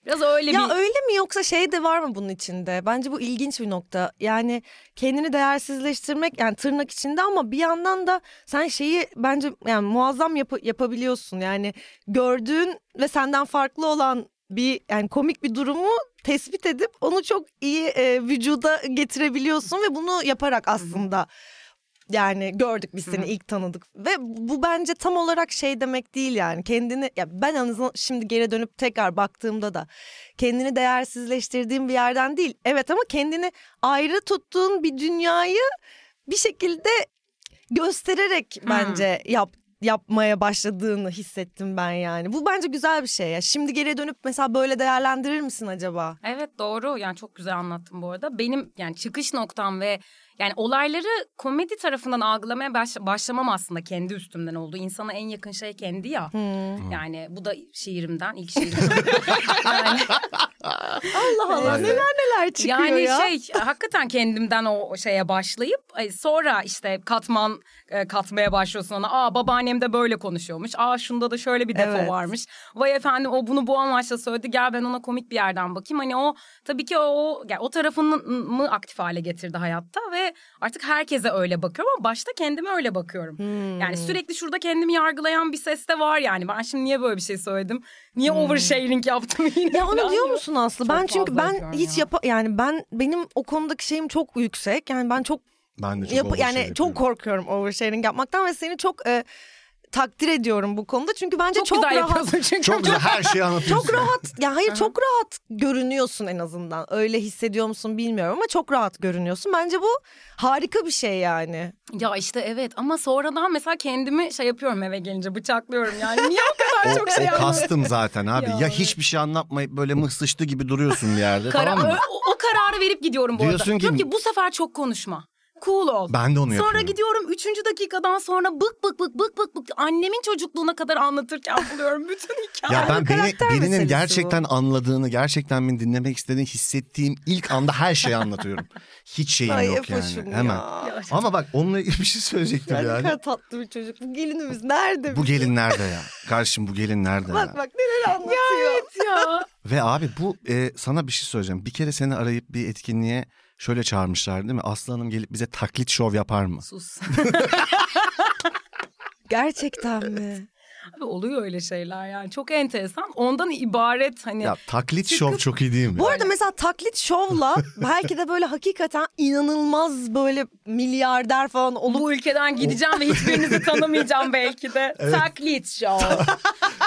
Speaker 4: Biraz öyle
Speaker 1: Ya
Speaker 4: bir...
Speaker 1: öyle mi yoksa şey de var mı bunun içinde? Bence bu ilginç bir nokta. Yani kendini değersizleştirmek yani tırnak içinde ama bir yandan da sen şeyi bence yani muazzam yapı- yapabiliyorsun. Yani gördüğün ve senden farklı olan bir yani komik bir durumu tespit edip onu çok iyi e, vücuda getirebiliyorsun ve bunu yaparak aslında yani gördük biz seni ilk tanıdık ve bu bence tam olarak şey demek değil yani kendini ya ben en azından şimdi geri dönüp tekrar baktığımda da kendini değersizleştirdiğim bir yerden değil evet ama kendini ayrı tuttuğun bir dünyayı bir şekilde göstererek bence yap yapmaya başladığını hissettim ben yani. Bu bence güzel bir şey ya. Şimdi geriye dönüp mesela böyle değerlendirir misin acaba?
Speaker 4: Evet doğru yani çok güzel anlattın bu arada. Benim yani çıkış noktam ve yani olayları komedi tarafından algılamaya baş- başlamam aslında kendi üstümden oldu. İnsana en yakın şey kendi ya. Yani bu da şiirimden ilk şiirimden. yani,
Speaker 1: Allah Allah
Speaker 3: Evet.
Speaker 1: neler neler çıkıyor
Speaker 4: yani
Speaker 1: ya.
Speaker 4: şey hakikaten kendimden o o şeye başlayıp ay, sonra işte katman e, katmaya başlıyorsun ona. Aa babaannem de böyle konuşuyormuş. Aa şunda da şöyle bir defo
Speaker 1: Evet.
Speaker 4: varmış. Vay efendim o bunu bu amaçla söyledi. Gel ben ona komik bir yerden bakayım. Hani o tabii ki o o- yani o tarafını mı aktif hale getirdi hayatta ve artık herkese öyle bakıyorum ama başta kendime öyle bakıyorum.
Speaker 1: Hmm.
Speaker 4: Yani sürekli şurada kendimi yargılayan bir ses de var yani. Ben şimdi niye böyle bir şey söyledim? Niye oversharing yaptım yine?
Speaker 1: Hmm. Ya onu
Speaker 4: falan
Speaker 1: diyor
Speaker 4: diyorum.
Speaker 1: musun Aslı?
Speaker 4: Çok
Speaker 1: Ben çünkü
Speaker 4: fazla
Speaker 1: ben
Speaker 4: yapıyorum
Speaker 1: hiç
Speaker 4: ya.
Speaker 1: yapa yani ben benim o konudaki şeyim çok yüksek. Yani ben çok
Speaker 3: Ben de çok
Speaker 1: Yap-
Speaker 3: overshare
Speaker 1: yani çok
Speaker 3: yapıyorum.
Speaker 1: korkuyorum oversharing yapmaktan ve seni çok e, takdir ediyorum bu konuda. Çünkü bence
Speaker 4: Çok,
Speaker 1: çok,
Speaker 4: güzel
Speaker 1: rahat.
Speaker 4: yapıyorsun çünkü.
Speaker 3: Çok güzel her şeyi anlatıyorsun.
Speaker 1: Çok rahat. Ya hayır çok rahat görünüyorsun en azından. Öyle hissediyor musun bilmiyorum ama çok rahat görünüyorsun. Bence bu harika bir şey yani.
Speaker 4: Ya işte evet ama sonradan mesela kendimi şey yapıyorum eve gelince bıçaklıyorum yani. Niye o kadar
Speaker 3: O,
Speaker 4: çok şey
Speaker 3: o
Speaker 4: anlattın?
Speaker 3: kastım zaten abi.
Speaker 4: Ya
Speaker 3: ya,
Speaker 4: evet.
Speaker 3: hiçbir şey anlatmayıp böyle mıhsıştı gibi duruyorsun bir yerde
Speaker 4: Kara-
Speaker 3: tamam
Speaker 4: o,
Speaker 3: mı?
Speaker 4: o kararı verip gidiyorum bu
Speaker 3: Diyorsun
Speaker 4: arada.
Speaker 3: ki-
Speaker 4: Diyorum ki bu sefer çok konuşma. Cool ol.
Speaker 3: Ben de onu
Speaker 4: Sonra
Speaker 3: yapıyorum.
Speaker 4: gidiyorum üçüncü dakikadan sonra bık bık bık bık bık bık annemin çocukluğuna kadar anlatırken buluyorum bütün hikayeyi.
Speaker 3: Ya ben beni,
Speaker 1: karakter meselesi
Speaker 3: birinin
Speaker 1: bu.
Speaker 3: gerçekten anladığını, gerçekten beni dinlemek istediğini hissettiğim ilk anda her şeyi anlatıyorum. Hiç şeyim
Speaker 1: Ay
Speaker 3: yok yani.
Speaker 1: Efoş'um
Speaker 3: Hemen.
Speaker 1: ya.
Speaker 3: Ama bak onunla ilgili bir şey söyleyecektim
Speaker 1: Ya Ne
Speaker 3: yani.
Speaker 1: kadar tatlı bir çocuk. Bu gelinimiz nerede?
Speaker 3: Bu gelin nerede ya? Karşım bu gelin nerede ya?
Speaker 1: Bak bak neler anlatıyor.
Speaker 4: ya.
Speaker 3: Ve abi bu e, sana bir şey söyleyeceğim. Bir kere seni arayıp bir etkinliğe şöyle çağırmışlar değil mi? Aslı Hanım gelip bize taklit şov yapar mı?
Speaker 4: Sus.
Speaker 1: Gerçekten mi?
Speaker 4: Abi oluyor öyle şeyler yani çok enteresan. Ondan ibaret hani
Speaker 3: Ya taklit şov çok iyi değil mi?
Speaker 1: Bu arada mesela taklit şovla belki de böyle hakikaten inanılmaz böyle milyarder falan olup
Speaker 4: bu ülkeden gideceğim ve hiçbirinizi tanımayacağım belki de. Taklit show.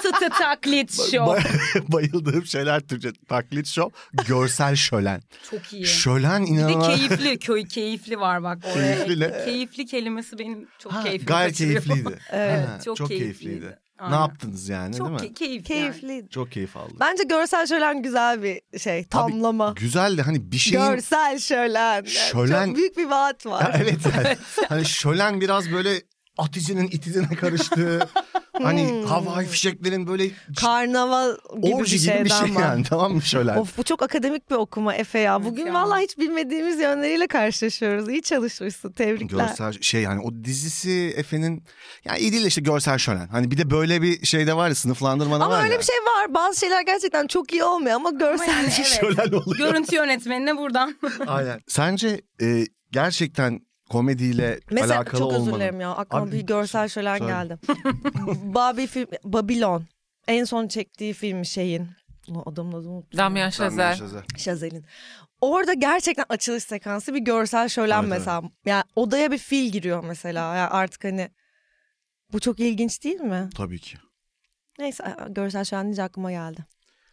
Speaker 4: Tıtı taklit show.
Speaker 3: Ba- bayıldığım şeyler Türkçe taklit şov, görsel şölen.
Speaker 4: Çok iyi.
Speaker 3: Şölen
Speaker 4: Bir de
Speaker 3: inanılmaz.
Speaker 4: keyifli köy keyifli var bak oraya.
Speaker 3: Keyifli ne?
Speaker 4: Keyifli kelimesi benim çok
Speaker 3: Ha,
Speaker 4: keyifli.
Speaker 3: gayet keyifliydi.
Speaker 1: Evet,
Speaker 3: Ha,
Speaker 4: çok keyifliydi.
Speaker 3: Ne
Speaker 4: Aynen.
Speaker 3: yaptınız yani
Speaker 4: Çok
Speaker 3: değil mi?
Speaker 4: key- keyifli. yani.
Speaker 1: keyifli.
Speaker 3: Çok keyif aldım.
Speaker 1: Bence görsel şölen güzel bir şey. Tamlama.
Speaker 3: Güzel de hani bir şeyin...
Speaker 1: Görsel şölen. Yani
Speaker 3: Şölen-
Speaker 1: Çok büyük bir vaat var.
Speaker 3: Ya evet yani. hani şölen biraz böyle atizinin itizine karıştığı.
Speaker 4: Hmm.
Speaker 3: hani havai fişeklerin böyle
Speaker 1: Karnaval gibi
Speaker 3: orji
Speaker 1: bir
Speaker 3: gibi
Speaker 1: şeyden
Speaker 3: bir şey
Speaker 1: var.
Speaker 3: yani tamam mı şölen?
Speaker 1: Of bu çok akademik bir okuma Efe ya.
Speaker 4: Evet
Speaker 1: Bugün
Speaker 4: ya.
Speaker 1: vallahi hiç bilmediğimiz yönleriyle karşılaşıyoruz. İyi çalışmışsın. Tebrikler.
Speaker 3: Görsel şey yani o dizisi Efe'nin yani iyi değil de işte görsel şölen. Hani bir de böyle bir şey de var ya sınıflandırmada var
Speaker 1: Ama öyle
Speaker 3: ya.
Speaker 1: bir şey var. Bazı şeyler gerçekten çok iyi olmuyor ama görsel. şey.
Speaker 4: Yani evet.
Speaker 3: Şölen oluyor.
Speaker 4: Görüntü yönetmenine buradan.
Speaker 3: Aynen. Sence e, gerçekten komediyle
Speaker 1: Mesela
Speaker 3: alakalı
Speaker 1: çok özür
Speaker 3: olmanın-
Speaker 1: dilerim ya. Aklıma
Speaker 3: Abi,
Speaker 1: bir görsel şölen
Speaker 3: söyle.
Speaker 1: geldi. Barbie film, Babylon. En son çektiği film şeyin. Ulan Adamın adını unuttum.
Speaker 5: Damyan Şazer.
Speaker 1: Şazel'in. Orada gerçekten açılış sekansı bir görsel şölen
Speaker 3: Evet,
Speaker 1: mesela. Yani odaya bir fil giriyor mesela. Yani artık hani bu çok ilginç değil mi?
Speaker 3: Tabii ki.
Speaker 1: Neyse görsel şölen deyince aklıma geldi.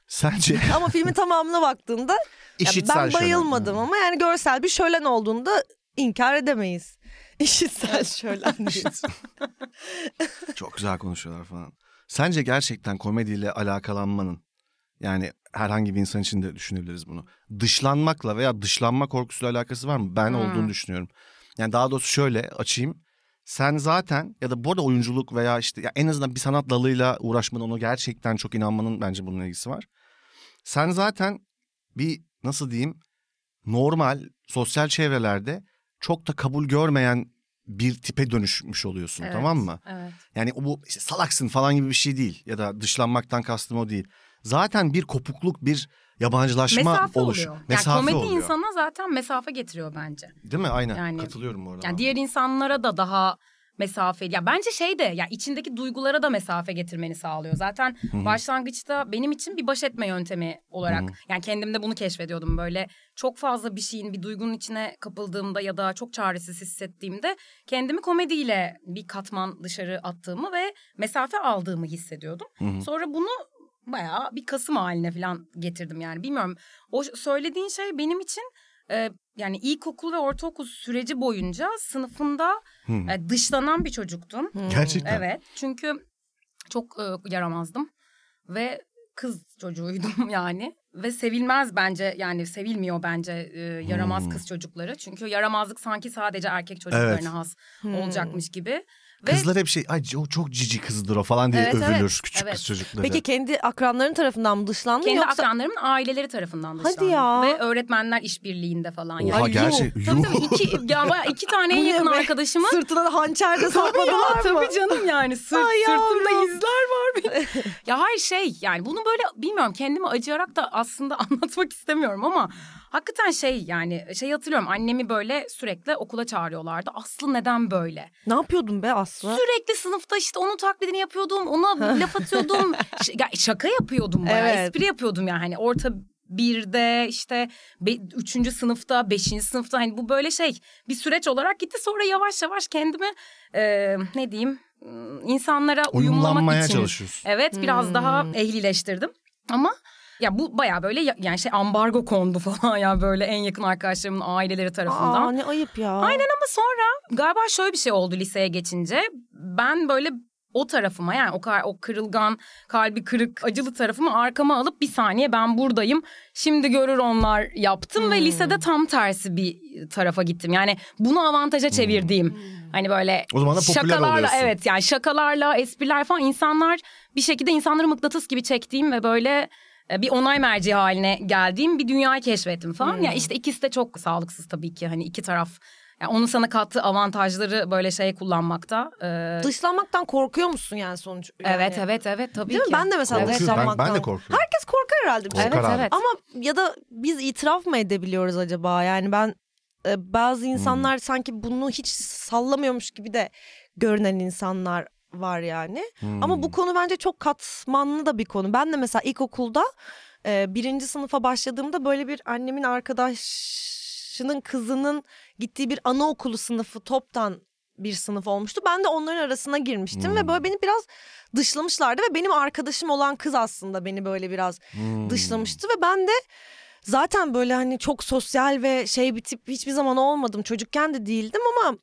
Speaker 3: Sence
Speaker 1: Ama filmin tamamına baktığında ya
Speaker 3: işitsel
Speaker 1: ben
Speaker 3: şölen.
Speaker 1: bayılmadım ama yani görsel bir şölen olduğunda inkar edemeyiz. İşitsel şölen. diye.
Speaker 3: Çok güzel konuşuyorlar falan. Sence gerçekten komediyle alakalanmanın yani herhangi bir insan için de düşünebiliriz bunu. Dışlanmakla veya dışlanma korkusuyla alakası var mı? Ben olduğunu düşünüyorum. Yani daha doğrusu şöyle açayım. Sen zaten ya da bu arada oyunculuk veya işte ya en azından bir sanat dalıyla uğraşmanın ona gerçekten çok inanmanın bence bununla ilgisi var. Sen zaten bir nasıl diyeyim normal sosyal çevrelerde çok da kabul görmeyen bir tipe dönüşmüş oluyorsun
Speaker 4: Evet,
Speaker 3: tamam mı?
Speaker 4: Evet.
Speaker 3: Yani o bu işte salaksın falan gibi bir şey değil ya da dışlanmaktan kastım o değil. Zaten bir kopukluk, bir yabancılaşma
Speaker 4: mesafe
Speaker 3: oluş.
Speaker 4: oluyor. Yani
Speaker 3: Mesafe
Speaker 4: komedi
Speaker 3: oluyor.
Speaker 4: insana zaten mesafe getiriyor bence.
Speaker 3: Değil mi? Aynen.
Speaker 4: Yani-
Speaker 3: Katılıyorum bu arada.
Speaker 4: Yani diğer insanlara da daha mesafeli. Ya bence şey de ya içindeki duygulara da mesafe getirmeni sağlıyor. Zaten başlangıçta benim için bir baş etme yöntemi olarak yani kendimde bunu keşfediyordum böyle. Çok fazla bir şeyin bir duygunun içine kapıldığımda ya da çok çaresiz hissettiğimde kendimi komediyle bir katman dışarı attığımı ve mesafe aldığımı hissediyordum. Sonra bunu bayağı bir kasım haline falan getirdim yani bilmiyorum. O söylediğin şey benim için e, yani ilkokul ve ortaokul süreci boyunca sınıfında e, dışlanan bir çocuktum.
Speaker 3: Hmm.
Speaker 1: Hmm.
Speaker 3: Gerçekten.
Speaker 4: Evet çünkü çok e, yaramazdım ve kız çocuğuydum yani ve sevilmez bence yani sevilmiyor bence e, yaramaz kız çocukları. Çünkü yaramazlık sanki sadece erkek çocuklarına
Speaker 3: Hmm. Evet.
Speaker 4: has
Speaker 1: Hmm.
Speaker 4: olacakmış gibi. Ve
Speaker 3: Kızlar hep şey ay o çok cici kızdır o falan diye
Speaker 4: Evet,
Speaker 3: övülür
Speaker 4: evet.
Speaker 3: küçük
Speaker 4: Evet.
Speaker 3: kız çocukları.
Speaker 1: Peki kendi akranların tarafından mı dışlandın
Speaker 4: kendi
Speaker 1: yoksa
Speaker 4: akranlarımın aileleri tarafından
Speaker 1: Hadi
Speaker 4: dışlandım.
Speaker 1: ya.
Speaker 4: Ve öğretmenler işbirliğinde falan.
Speaker 3: Oha
Speaker 1: Ay,
Speaker 3: gerçek.
Speaker 4: Tabii
Speaker 3: Yuh.
Speaker 4: tabii iki, ya bayağı iki tane en
Speaker 1: Bu ne
Speaker 4: yakın
Speaker 1: be?
Speaker 4: arkadaşımın.
Speaker 1: sırtına da hançer de sapladılar mı?
Speaker 4: tabii canım yani sırt,
Speaker 1: Ay
Speaker 4: sırtımda
Speaker 1: yavrum.
Speaker 4: izler var benim. ya hayır şey yani bunu böyle bilmiyorum kendimi acıyarak da aslında anlatmak istemiyorum ama hakikaten şey yani şey hatırlıyorum annemi böyle sürekli okula çağırıyorlardı. Aslı neden böyle?
Speaker 1: Ne yapıyordun be Aslı?
Speaker 4: Sürekli sınıfta işte onun taklidini yapıyordum, ona laf atıyordum. Ş- ya şaka yapıyordum bayağı,
Speaker 1: Evet.
Speaker 4: espri yapıyordum yani hani orta birde işte be, üçüncü sınıfta, beşinci sınıfta hani bu böyle şey bir süreç olarak gitti. Sonra yavaş yavaş kendimi e, ne diyeyim m, insanlara uyumlamak
Speaker 3: Uyumlanmaya
Speaker 4: için.
Speaker 3: çalışıyorsun.
Speaker 4: Evet biraz daha
Speaker 3: Hmm.
Speaker 4: ehlileştirdim ama ya bu baya böyle ya- yani şey ambargo kondu falan ya böyle en yakın arkadaşlarımın aileleri tarafından.
Speaker 1: Aa ne ayıp ya. Aynen.
Speaker 4: Ama sonra galiba şöyle bir şey oldu liseye geçince. Ben böyle o tarafıma yani o, kar- o kırılgan kalbi kırık acılı tarafımı arkama alıp bir saniye ben buradayım şimdi görür onlar yaptım
Speaker 3: Hmm.
Speaker 4: ve lisede tam tersi bir tarafa gittim. Yani bunu avantaja çevirdiğim hani böyle
Speaker 3: Hmm. O zaman da popüler
Speaker 4: şakalarla
Speaker 3: oluyorsun.
Speaker 4: evet yani şakalarla espriler falan insanlar bir şekilde insanları mıknatıs gibi çektiğim ve böyle e, bir onay merci haline geldiğim bir dünyayı keşfettim falan.
Speaker 1: Hmm.
Speaker 4: Ya işte ikisi de çok sağlıksız tabii ki hani iki taraf. Yani onun sana kattığı avantajları böyle şey kullanmakta. e,
Speaker 1: Dışlanmaktan korkuyor musun yani sonuç? yani?
Speaker 4: Evet evet evet tabii
Speaker 1: Değil mi?
Speaker 4: ki.
Speaker 1: Ben de mesela
Speaker 3: Korkuyorum. Ben,
Speaker 1: dışlanmaktan.
Speaker 3: ben de korkuyorum.
Speaker 1: Herkes korkar herhalde. bir şey.
Speaker 3: Korkar
Speaker 4: Evet
Speaker 3: abi.
Speaker 4: evet.
Speaker 1: Ama ya da biz itiraf mı edebiliyoruz acaba? Yani ben e, bazı
Speaker 3: Hmm.
Speaker 1: insanlar sanki bunu hiç sallamıyormuş gibi de görünen insanlar var yani.
Speaker 3: Hmm.
Speaker 1: Ama bu konu bence çok katmanlı da bir konu. Ben de mesela ilkokulda e, birinci sınıfa başladığımda böyle bir annemin arkadaşının kızının gittiği bir anaokulu sınıfı toptan bir sınıf olmuştu. Ben de onların arasına girmiştim ve
Speaker 3: Hmm.
Speaker 1: böyle beni biraz dışlamışlardı ve benim arkadaşım olan kız aslında beni böyle biraz
Speaker 3: Hmm.
Speaker 1: dışlamıştı ve ben de zaten böyle hani çok sosyal ve şey bir tip hiçbir zaman olmadım. Çocukken de değildim ama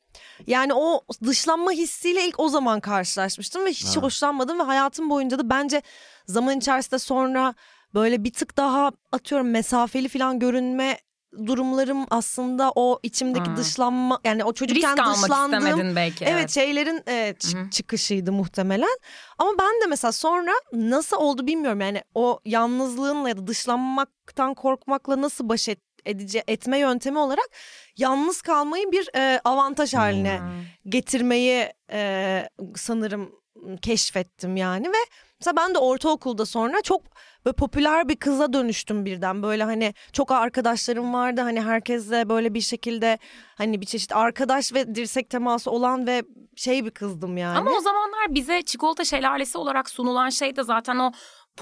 Speaker 1: yani o dışlanma hissiyle ilk o zaman karşılaşmıştım ve hiç
Speaker 3: Ha.
Speaker 1: hoşlanmadım ve hayatım boyunca da bence zaman içerisinde sonra böyle bir tık daha atıyorum mesafeli falan görünme durumlarım aslında o içimdeki
Speaker 4: Ha.
Speaker 1: dışlanma yani o çocukken
Speaker 4: Risk almak
Speaker 1: dışlandığım
Speaker 4: istemedin belki.
Speaker 1: Evet, şeylerin e, çı-
Speaker 4: Hı hı.
Speaker 1: çıkışıydı muhtemelen. Ama ben de mesela sonra nasıl oldu bilmiyorum. Yani o yalnızlığınla ya da dışlanmaktan korkmakla nasıl baş et, edice etme yöntemi olarak yalnız kalmayı bir e, avantaj haline
Speaker 4: Hmm.
Speaker 1: getirmeyi e, sanırım ıı, keşfettim yani ve mesela ben de ortaokulda sonra çok böyle popüler bir kıza dönüştüm birden böyle hani çok arkadaşlarım vardı hani herkesle böyle bir şekilde hani bir çeşit arkadaş ve dirsek teması olan ve şey bir kızdım yani.
Speaker 4: Ama o zamanlar bize çikolata şelalesi olarak sunulan şey de zaten o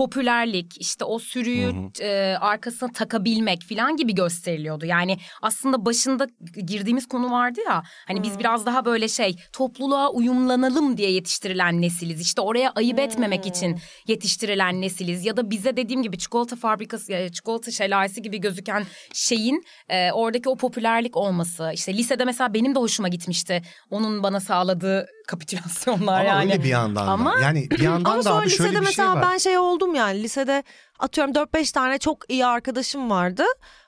Speaker 4: popülerlik işte o sürüyü e, arkasına takabilmek falan gibi gösteriliyordu. Yani aslında başında girdiğimiz konu vardı ya hani biz biraz daha böyle şey topluluğa uyumlanalım diye yetiştirilen nesiliz. İşte oraya ayıp etmemek için yetiştirilen nesiliz ya da bize dediğim gibi çikolata fabrikası e, çikolata şelalesi gibi gözüken şeyin e, oradaki o popülerlik olması. İşte lisede mesela benim de hoşuma gitmişti onun bana sağladığı kapitülasyonlar
Speaker 3: Ama
Speaker 4: yani.
Speaker 3: öyle bir yandan
Speaker 4: Ama-
Speaker 3: da. Yani bir yandan
Speaker 1: Ama
Speaker 3: da
Speaker 1: sonra
Speaker 3: abi
Speaker 1: lisede
Speaker 3: şöyle bir şey
Speaker 1: mesela
Speaker 3: var.
Speaker 1: ben şey oldum yani lisede atıyorum 4-5 tane çok iyi arkadaşım vardı.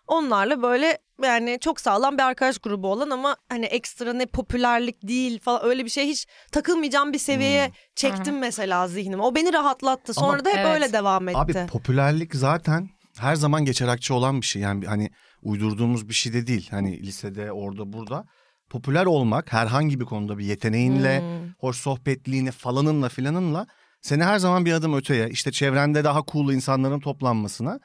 Speaker 1: Onlarla böyle yani çok sağlam bir arkadaş grubu olan ama hani ekstra ne popülerlik değil falan öyle bir şey hiç takılmayacağım bir seviyeye çektim mesela zihnimi. O beni rahatlattı. Sonra
Speaker 3: Hmm. Ama-
Speaker 1: da hep
Speaker 4: Evet.
Speaker 1: öyle devam etti.
Speaker 3: Abi popülerlik zaten her zaman geçer akçe olan bir şey. Yani hani uydurduğumuz bir şey de değil. Hani lisede, orada, burada. Popüler olmak herhangi bir konuda bir yeteneğinle,
Speaker 4: Hmm.
Speaker 3: hoş sohbetliğini falanınla filanınla seni her zaman bir adım öteye, işte çevrende daha cool insanların toplanmasına.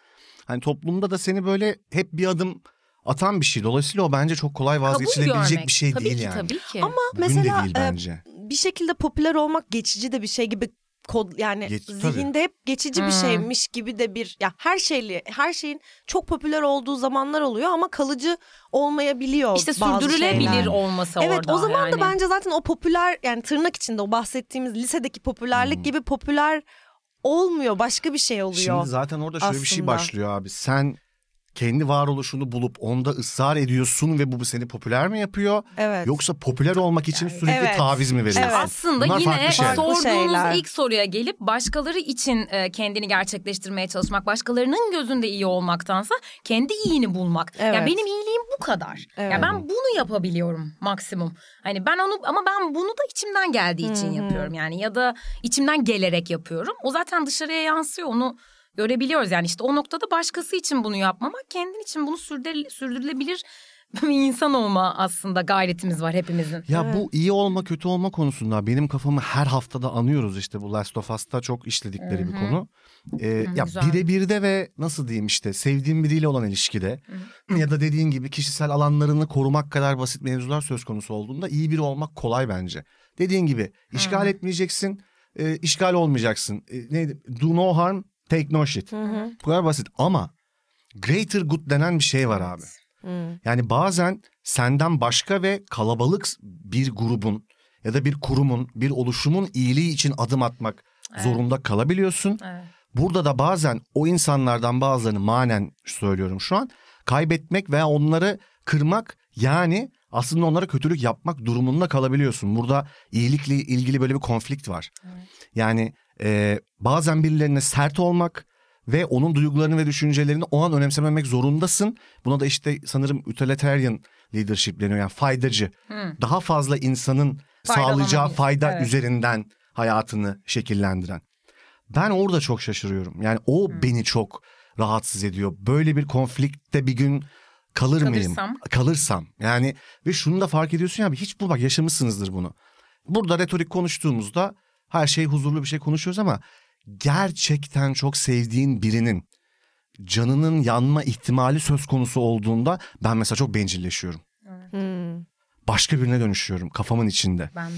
Speaker 3: Hani toplumda da seni böyle hep bir adım atan bir şey. Dolayısıyla o bence çok kolay
Speaker 4: Kabul
Speaker 3: vazgeçilebilecek
Speaker 4: görmek.
Speaker 3: bir şey
Speaker 4: tabii
Speaker 3: değil
Speaker 4: ki,
Speaker 3: yani.
Speaker 4: Tabii ki.
Speaker 1: ama
Speaker 3: Bugün
Speaker 1: mesela
Speaker 3: de değil
Speaker 1: e,
Speaker 3: bence.
Speaker 1: bir şekilde popüler olmak geçici de bir şey gibi kod yani
Speaker 3: Geç- tabii.
Speaker 1: zihinde hep geçici bir
Speaker 4: Hmm.
Speaker 1: şeymiş gibi de bir ya her şeyli her şeyin çok popüler olduğu zamanlar oluyor ama kalıcı olmayabiliyor.
Speaker 4: İşte
Speaker 1: bazı
Speaker 4: sürdürülebilir
Speaker 1: şeyler.
Speaker 4: olması
Speaker 1: Evet
Speaker 4: orada
Speaker 1: o zaman
Speaker 4: yani.
Speaker 1: da bence zaten o popüler yani tırnak içinde o bahsettiğimiz lisedeki popülerlik
Speaker 3: Hmm.
Speaker 1: gibi popüler olmuyor başka bir şey oluyor.
Speaker 3: Şimdi zaten orada şöyle bir şey
Speaker 1: aslında.
Speaker 3: başlıyor abi. Sen kendi varoluşunu bulup onda ısrar ediyorsun ve bu seni popüler mi yapıyor?
Speaker 1: evet.
Speaker 3: Yoksa popüler olmak için sürekli
Speaker 1: Evet.
Speaker 3: taviz mi veriyorsun?
Speaker 1: Evet.
Speaker 4: Aslında
Speaker 3: Bunlar
Speaker 4: yine
Speaker 3: farklı şeyler.
Speaker 1: sor-
Speaker 4: sorduğunuz
Speaker 1: şeyler.
Speaker 4: ilk soruya gelip başkaları için e, kendini gerçekleştirmeye çalışmak, başkalarının gözünde iyi olmaktansa kendi iyini bulmak.
Speaker 1: Evet.
Speaker 4: Ya benim iyiliğim bu kadar.
Speaker 1: Evet.
Speaker 4: Ya ben bunu yapabiliyorum maksimum. Hani ben onu ama ben bunu da içimden geldiği için yapıyorum yani ya da içimden gelerek yapıyorum. O zaten dışarıya yansıyor. Onu görebiliyoruz yani işte o noktada başkası için bunu yapmamak, kendin için bunu sürdürüle- sürdürülebilir bir insan olma aslında gayretimiz var hepimizin.
Speaker 3: Ya bu iyi olma kötü olma konusunda benim kafamı her haftada anıyoruz işte bu Last of Us'ta çok işledikleri bir konu. Ee, ya
Speaker 4: güzel.
Speaker 3: birebirde ve nasıl diyeyim işte sevdiğim biriyle olan ilişkide ya da dediğin gibi kişisel alanlarını korumak kadar basit mevzular söz konusu olduğunda iyi biri olmak kolay bence. Dediğin gibi işgal etmeyeceksin, e, işgal olmayacaksın. E, neydi? Do no harm, take no shit. Bu kadar basit ama greater good denen bir şey var abi. Yani bazen senden başka ve kalabalık bir grubun ya da bir kurumun, bir oluşumun iyiliği için adım atmak zorunda kalabiliyorsun.
Speaker 4: Evet.
Speaker 3: Burada da bazen o insanlardan bazılarını manen söylüyorum şu an kaybetmek veya onları kırmak yani aslında onlara kötülük yapmak durumunda kalabiliyorsun. Burada iyilikle ilgili böyle bir konflikt var. Yani e, bazen birilerine sert olmak ve onun duygularını ve düşüncelerini o an önemsememek zorundasın. Buna da işte sanırım utilitarian leadership deniyor yani faydacı. Daha fazla insanın sağlayacağı fayda
Speaker 4: Evet.
Speaker 3: üzerinden hayatını şekillendiren. Ben orada çok şaşırıyorum. Yani o beni çok rahatsız ediyor. Böyle bir konflikte bir gün kalır mıyım?
Speaker 4: Kalırsam.
Speaker 3: Kalırsam. Yani ve şunu da fark ediyorsun ya abi, hiç bu bak yaşamışsınızdır bunu. Burada retorik konuştuğumuzda her şey huzurlu bir şey konuşuyoruz ama gerçekten çok sevdiğin birinin canının yanma ihtimali söz konusu olduğunda ben mesela çok bencilleşiyorum.
Speaker 1: Hmm.
Speaker 3: Başka birine dönüşüyorum kafamın içinde.
Speaker 4: Ben de.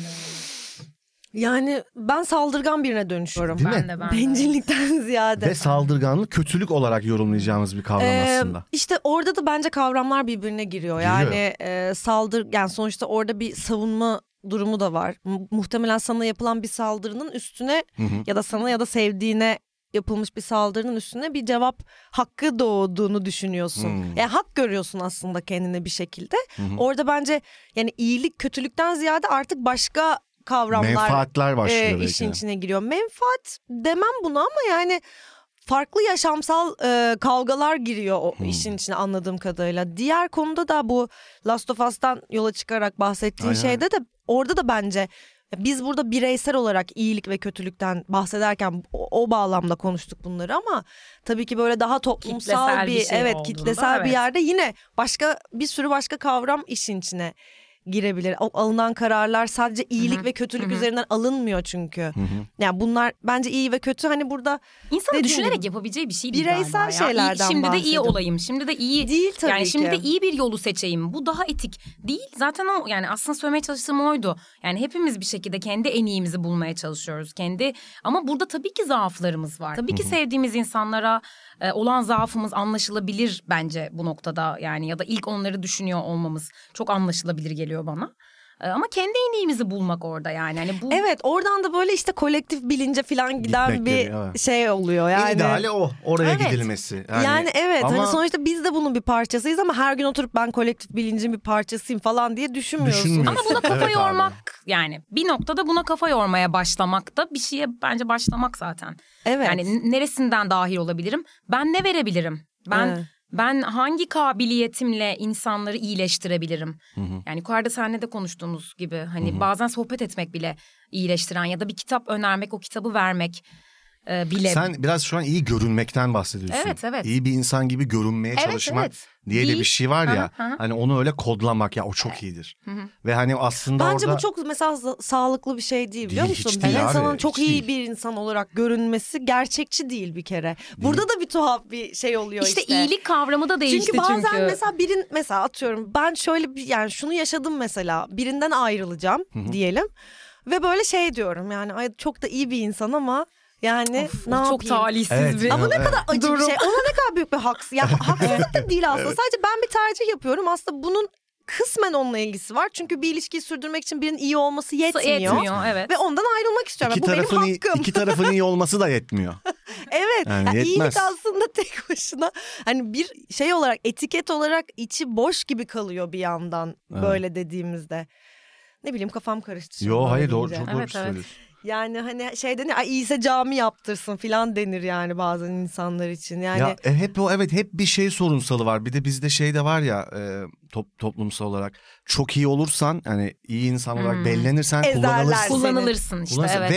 Speaker 1: Yani ben saldırgan birine dönüşüyorum.
Speaker 3: Değil mi?
Speaker 4: Ben de ben de.
Speaker 1: Bencillikten ziyade.
Speaker 3: Ve saldırganlık kötülük olarak yorumlayacağımız bir kavram
Speaker 1: Ee,
Speaker 3: aslında.
Speaker 1: işte orada da bence kavramlar birbirine giriyor.
Speaker 3: Giriyor.
Speaker 1: Yani e, saldır yani sonuçta orada bir savunma durumu da var. Mu- muhtemelen sana yapılan bir saldırının üstüne
Speaker 3: Hı hı.
Speaker 1: ya da sana ya da sevdiğine yapılmış bir saldırının üstüne bir cevap hakkı doğduğunu düşünüyorsun.
Speaker 3: Hmm.
Speaker 1: Yani hak görüyorsun aslında kendine bir şekilde.
Speaker 3: hı.
Speaker 1: Orada bence yani iyilik kötülükten ziyade artık başka kavramlar
Speaker 3: Menfaatler başlıyor
Speaker 1: e,
Speaker 3: belki.
Speaker 1: işin içine giriyor. Menfaat demem buna ama yani farklı yaşamsal e, kavgalar giriyor o
Speaker 3: Hmm.
Speaker 1: işin içine anladığım kadarıyla. Diğer konuda da bu Last of Us'tan yola çıkarak bahsettiğin
Speaker 3: Aynen.
Speaker 1: şeyde de orada da bence biz burada bireysel olarak iyilik ve kötülükten bahsederken o, o bağlamda konuştuk bunları ama tabii ki böyle daha toplumsal
Speaker 4: Kitlesel
Speaker 1: bir,
Speaker 4: bir şey
Speaker 1: evet
Speaker 4: olduğunda,
Speaker 1: kitlesel bir
Speaker 4: evet.
Speaker 1: yerde yine başka bir sürü başka kavram işin içine girebilir. O alınan kararlar sadece iyilik ve kötülük üzerinden alınmıyor çünkü. Yani bunlar bence iyi ve kötü hani burada
Speaker 4: İnsanın
Speaker 1: Dediğim
Speaker 4: düşünerek
Speaker 1: gibi.
Speaker 4: yapabileceği bir şey değil
Speaker 1: Bireysel
Speaker 4: galiba ya. İyi-
Speaker 1: şeylerden
Speaker 4: Şimdi de iyi
Speaker 1: bahsediyorum.
Speaker 4: olayım. Şimdi de iyi.
Speaker 1: Değil tabii
Speaker 4: yani şimdi
Speaker 1: ki.
Speaker 4: de iyi bir yolu seçeyim. Bu daha etik değil. Zaten o yani aslında söylemeye çalıştığım oydu. Yani hepimiz bir şekilde kendi en iyimizi bulmaya çalışıyoruz. Kendi ama burada tabii ki zaaflarımız var. Tabii ki sevdiğimiz insanlara e, olan zaafımız anlaşılabilir bence bu noktada. Yani ya da ilk onları düşünüyor olmamız çok anlaşılabilir geliyor bana. E, ama kendi en iyimizi bulmak orada yani. Hani bu
Speaker 1: evet oradan da böyle işte kolektif bilince falan giden
Speaker 3: Gitmek
Speaker 1: bir
Speaker 3: geliyor, evet.
Speaker 1: şey oluyor yani.
Speaker 3: En ideali o. Oraya
Speaker 4: Evet.
Speaker 3: gidilmesi.
Speaker 1: Yani, evet hani
Speaker 3: ama
Speaker 1: sonuçta biz de bunun bir parçasıyız ama her gün oturup ben kolektif bilincin bir parçasıyım falan diye düşünmüyorsun.
Speaker 3: düşünmüyorsun.
Speaker 4: Ama buna kafa
Speaker 3: Evet abi.
Speaker 4: yormak yani bir noktada buna kafa yormaya başlamak da bir şeye bence başlamak zaten.
Speaker 1: Evet.
Speaker 4: Yani n- neresinden dahil olabilirim? Ben ne verebilirim? Ben
Speaker 1: Evet.
Speaker 4: ben hangi kabiliyetimle insanları iyileştirebilirim? Yani yukarıda seninle de konuştuğumuz gibi hani bazen sohbet etmek bile iyileştiren ya da bir kitap önermek, o kitabı vermek e, bile.
Speaker 3: Sen biraz şu an iyi görünmekten bahsediyorsun.
Speaker 4: Evet, evet.
Speaker 3: İyi bir insan gibi görünmeye
Speaker 4: Evet,
Speaker 3: çalışmak
Speaker 4: evet.
Speaker 3: diye de
Speaker 4: Değil.
Speaker 3: bir şey var ya.
Speaker 4: Hı hı, hı hı.
Speaker 3: Hani onu öyle kodlamak ya o çok iyidir. Ve hani aslında
Speaker 1: Bence
Speaker 3: orada
Speaker 1: bu çok mesela sa- sağlıklı bir şey değil biliyor
Speaker 3: Değil, hiç
Speaker 1: musun?
Speaker 3: değil abi,
Speaker 1: insanın
Speaker 3: hiç
Speaker 1: çok iyi
Speaker 3: değil.
Speaker 1: bir insan olarak görünmesi gerçekçi değil bir kere. Burada da bir tuhaf bir şey oluyor işte.
Speaker 4: işte, iyilik kavramı da değişti
Speaker 1: Çünkü
Speaker 4: çünkü.
Speaker 1: bazen mesela birin mesela atıyorum ben şöyle bir yani şunu yaşadım mesela birinden ayrılacağım diyelim ve böyle şey diyorum yani ay çok da iyi bir insan ama yani
Speaker 4: Of,
Speaker 1: ne yapayım?
Speaker 4: çok talihsiz
Speaker 3: Evet,
Speaker 4: bir.
Speaker 1: Ama ne
Speaker 3: Evet.
Speaker 1: kadar acı bir
Speaker 4: Durum.
Speaker 1: şey. Ona ne kadar büyük bir haksız. Ya haksızlık da değil aslında. Sadece ben bir tercih yapıyorum. Aslında bunun kısmen onunla ilgisi var. Çünkü bir ilişkiyi sürdürmek için birinin iyi olması yetmiyor.
Speaker 4: Etmiyor, evet.
Speaker 1: Ve ondan ayrılmak istiyorum.
Speaker 3: iki
Speaker 1: Bu benim
Speaker 3: tarafın iyi,
Speaker 1: hakkım.
Speaker 3: iki tarafın iyi olması da yetmiyor.
Speaker 1: Evet.
Speaker 3: Yani
Speaker 1: Yani iyilik
Speaker 3: yetmez.
Speaker 1: aslında tek başına hani bir şey olarak etiket olarak içi boş gibi kalıyor bir yandan
Speaker 3: Evet.
Speaker 1: böyle dediğimizde. Ne bileyim kafam karıştı. şimdi
Speaker 3: Yo
Speaker 1: böyle
Speaker 3: hayır doğru
Speaker 1: deyince.
Speaker 3: çok doğru
Speaker 4: Evet,
Speaker 3: bir şey
Speaker 4: evet.
Speaker 3: söylüyorsun.
Speaker 1: Yani hani şey denir ay iyiyse cami yaptırsın filan denir yani bazen insanlar için. Yani
Speaker 3: Ya e, hep o evet hep bir şey sorunsalı var. Bir de bizde şey de var ya e, top, toplumsal olarak çok iyi olursan hani iyi insan olarak
Speaker 4: Hmm.
Speaker 3: bellenirsen
Speaker 1: Ezerler.
Speaker 3: kullanılırsın.
Speaker 1: Kullan-
Speaker 4: Kullanılırsın işte
Speaker 3: Kullanırsın.
Speaker 4: evet.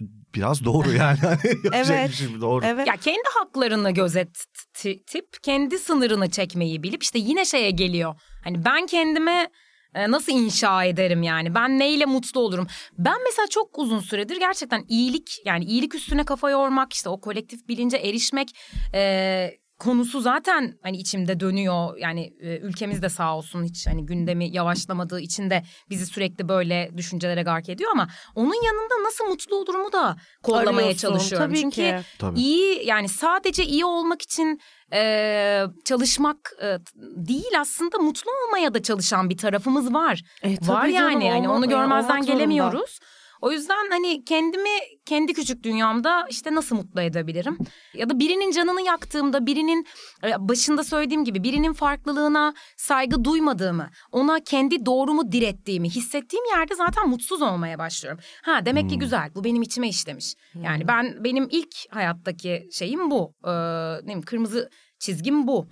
Speaker 3: Ve biraz doğru yani. Hani yapacak bir
Speaker 1: Evet.
Speaker 3: şey yok, doğru.
Speaker 1: evet.
Speaker 4: Ya kendi haklarını gözetip kendi sınırını çekmeyi bilip işte yine şeye geliyor. Hani ben kendime e, nasıl inşa ederim yani? Ben neyle mutlu olurum? Ben mesela çok uzun süredir gerçekten iyilik yani iyilik üstüne kafa yormak işte o kolektif bilince erişmek e, konusu zaten hani içimde dönüyor. Yani e, ülkemiz de sağ olsun hiç hani gündemi yavaşlamadığı için de bizi sürekli böyle düşüncelere gark ediyor ama onun yanında nasıl mutlu olurumu da kollamaya
Speaker 1: Arıyorsun,
Speaker 4: çalışıyorum.
Speaker 1: Tabii
Speaker 4: Çünkü
Speaker 1: ki.
Speaker 3: Tabii.
Speaker 4: iyi yani sadece iyi olmak için e, çalışmak e, t- değil aslında mutlu olmaya da çalışan bir tarafımız var.
Speaker 1: E, tabii
Speaker 4: var
Speaker 1: canım,
Speaker 4: yani hani
Speaker 1: olma-
Speaker 4: onu
Speaker 1: e,
Speaker 4: görmezden
Speaker 1: olmak zorunda.
Speaker 4: gelemiyoruz. O yüzden hani kendimi kendi küçük dünyamda işte nasıl mutlu edebilirim? Ya da birinin canını yaktığımda birinin e, başında söylediğim gibi birinin farklılığına saygı duymadığımı, ona kendi doğrumu direttiğimi hissettiğim yerde zaten mutsuz olmaya başlıyorum. Ha demek ki güzel bu benim içime işlemiş.
Speaker 1: Hmm.
Speaker 4: Yani ben benim ilk hayattaki şeyim bu. Ee, ne bileyim kırmızı çizgim bu.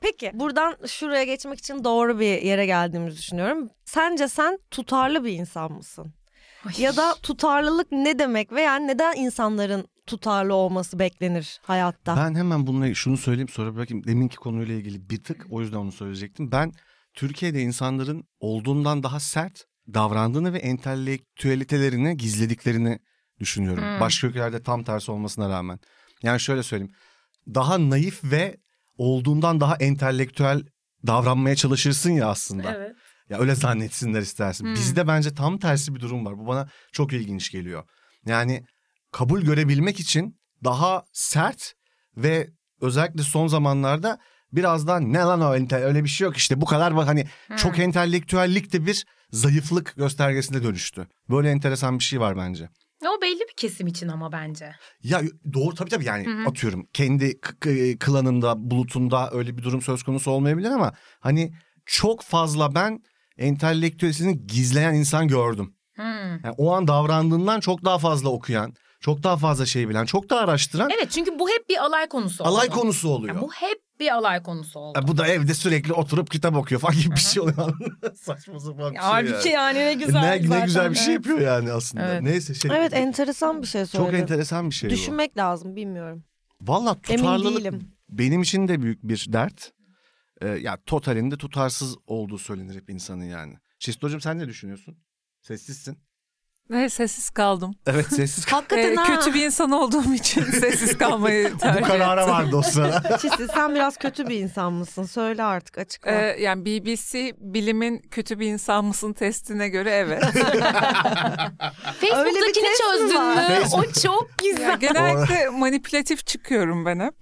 Speaker 1: Peki buradan şuraya geçmek için doğru bir yere geldiğimizi düşünüyorum. Sence sen tutarlı bir insan mısın? Ya da tutarlılık ne demek veya neden insanların tutarlı olması beklenir hayatta?
Speaker 3: Ben hemen bununla şunu söyleyeyim sonra bırakayım. Deminki konuyla ilgili bir tık o yüzden onu söyleyecektim. Ben Türkiye'de insanların olduğundan daha sert davrandığını ve entelektüelitelerini gizlediklerini düşünüyorum.
Speaker 4: Hmm.
Speaker 3: Başka ülkelerde tam tersi olmasına rağmen. Yani şöyle söyleyeyim. Daha naif ve olduğundan daha entelektüel davranmaya çalışırsın ya aslında.
Speaker 4: Evet.
Speaker 3: Ya öyle zannetsinler istersin.
Speaker 4: Hmm.
Speaker 3: Bizde bence tam tersi bir durum var. Bu bana çok ilginç geliyor. Yani kabul görebilmek için daha sert ve özellikle son zamanlarda biraz daha ne lan o ente- öyle bir şey yok işte bu kadar bak hani çok entelektüellik de bir zayıflık göstergesine dönüştü. Böyle enteresan bir şey var bence.
Speaker 4: O belli bir kesim için ama bence.
Speaker 3: Ya doğru tabii tabii yani
Speaker 4: Hı hı.
Speaker 3: atıyorum kendi k- k- klanında bulutunda öyle bir durum söz konusu olmayabilir ama hani çok fazla ben entelektüelini gizleyen insan gördüm.
Speaker 4: Hmm.
Speaker 3: Yani o an davrandığından çok daha fazla okuyan, çok daha fazla şey bilen, çok daha araştıran
Speaker 4: Evet çünkü bu hep bir alay konusu oldu.
Speaker 3: alay konusu oluyor.
Speaker 4: Ya bu hep bir alay konusu oldu.
Speaker 3: Ya bu da evde sürekli oturup kitap okuyor falan gibi bir şey oluyor. Saçma sapan bir şey
Speaker 4: Halbuki
Speaker 3: yani.
Speaker 4: yani ne güzel.
Speaker 3: ne, ne
Speaker 4: zaten.
Speaker 3: güzel bir şey
Speaker 4: Evet.
Speaker 3: yapıyor yani aslında.
Speaker 4: Evet.
Speaker 3: Neyse şey.
Speaker 1: Evet enteresan bir şey
Speaker 3: çok
Speaker 1: söyledin.
Speaker 3: enteresan bir şey bu.
Speaker 1: Düşünmek lazım bilmiyorum.
Speaker 3: Valla
Speaker 1: Emin
Speaker 3: tutarlılık
Speaker 1: değilim.
Speaker 3: benim için de büyük bir dert. Ee, ya totalinde tutarsız olduğu söylenir hep insanın yani. Şistocuğum sen ne düşünüyorsun? Sessizsin.
Speaker 5: Ve sessiz kaldım.
Speaker 3: Evet sessiz.
Speaker 1: Hakikaten
Speaker 5: Ee,
Speaker 1: ha.
Speaker 5: kötü bir insan olduğum için sessiz kalmayı tercih
Speaker 3: Bu karara
Speaker 5: ettim.
Speaker 3: vardı o sırada.
Speaker 1: Çisil, sen biraz kötü bir insan mısın? Söyle artık açıkla.
Speaker 5: Ee, yani BBC bilimin kötü bir insan mısın testine göre evet.
Speaker 1: Öyle bir
Speaker 4: Facebook'takini
Speaker 1: test mi
Speaker 4: çözdün
Speaker 1: var?
Speaker 4: mü? O çok
Speaker 5: Ya
Speaker 4: güzel.
Speaker 5: genellikle manipülatif çıkıyorum ben hep.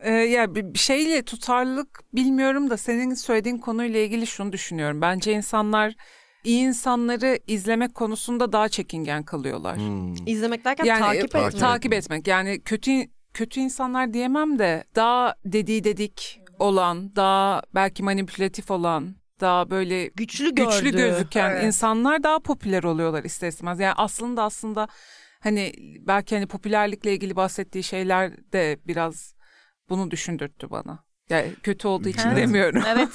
Speaker 5: Ee, ya bir bir şeyle tutarlılık bilmiyorum da senin söylediğin konuyla ilgili şunu düşünüyorum. Bence insanlar iyi insanları izlemek konusunda daha çekingen kalıyorlar.
Speaker 3: Hmm.
Speaker 1: İzlemek derken
Speaker 5: Yani
Speaker 1: takip
Speaker 5: e,
Speaker 1: etmek.
Speaker 3: etmek.
Speaker 5: takip etmek. Yani kötü kötü insanlar diyemem de daha dediği dedik olan, daha belki manipülatif olan, daha böyle
Speaker 1: Güçlü gördü.
Speaker 5: güçlü gözüken
Speaker 4: Evet.
Speaker 5: insanlar daha popüler oluyorlar ister istemez. Yani aslında aslında hani belki hani popülerlikle ilgili bahsettiği şeyler de biraz bunu düşündürttü bana. Yani kötü olduğu için
Speaker 3: Evet.
Speaker 5: demiyorum.
Speaker 4: Evet.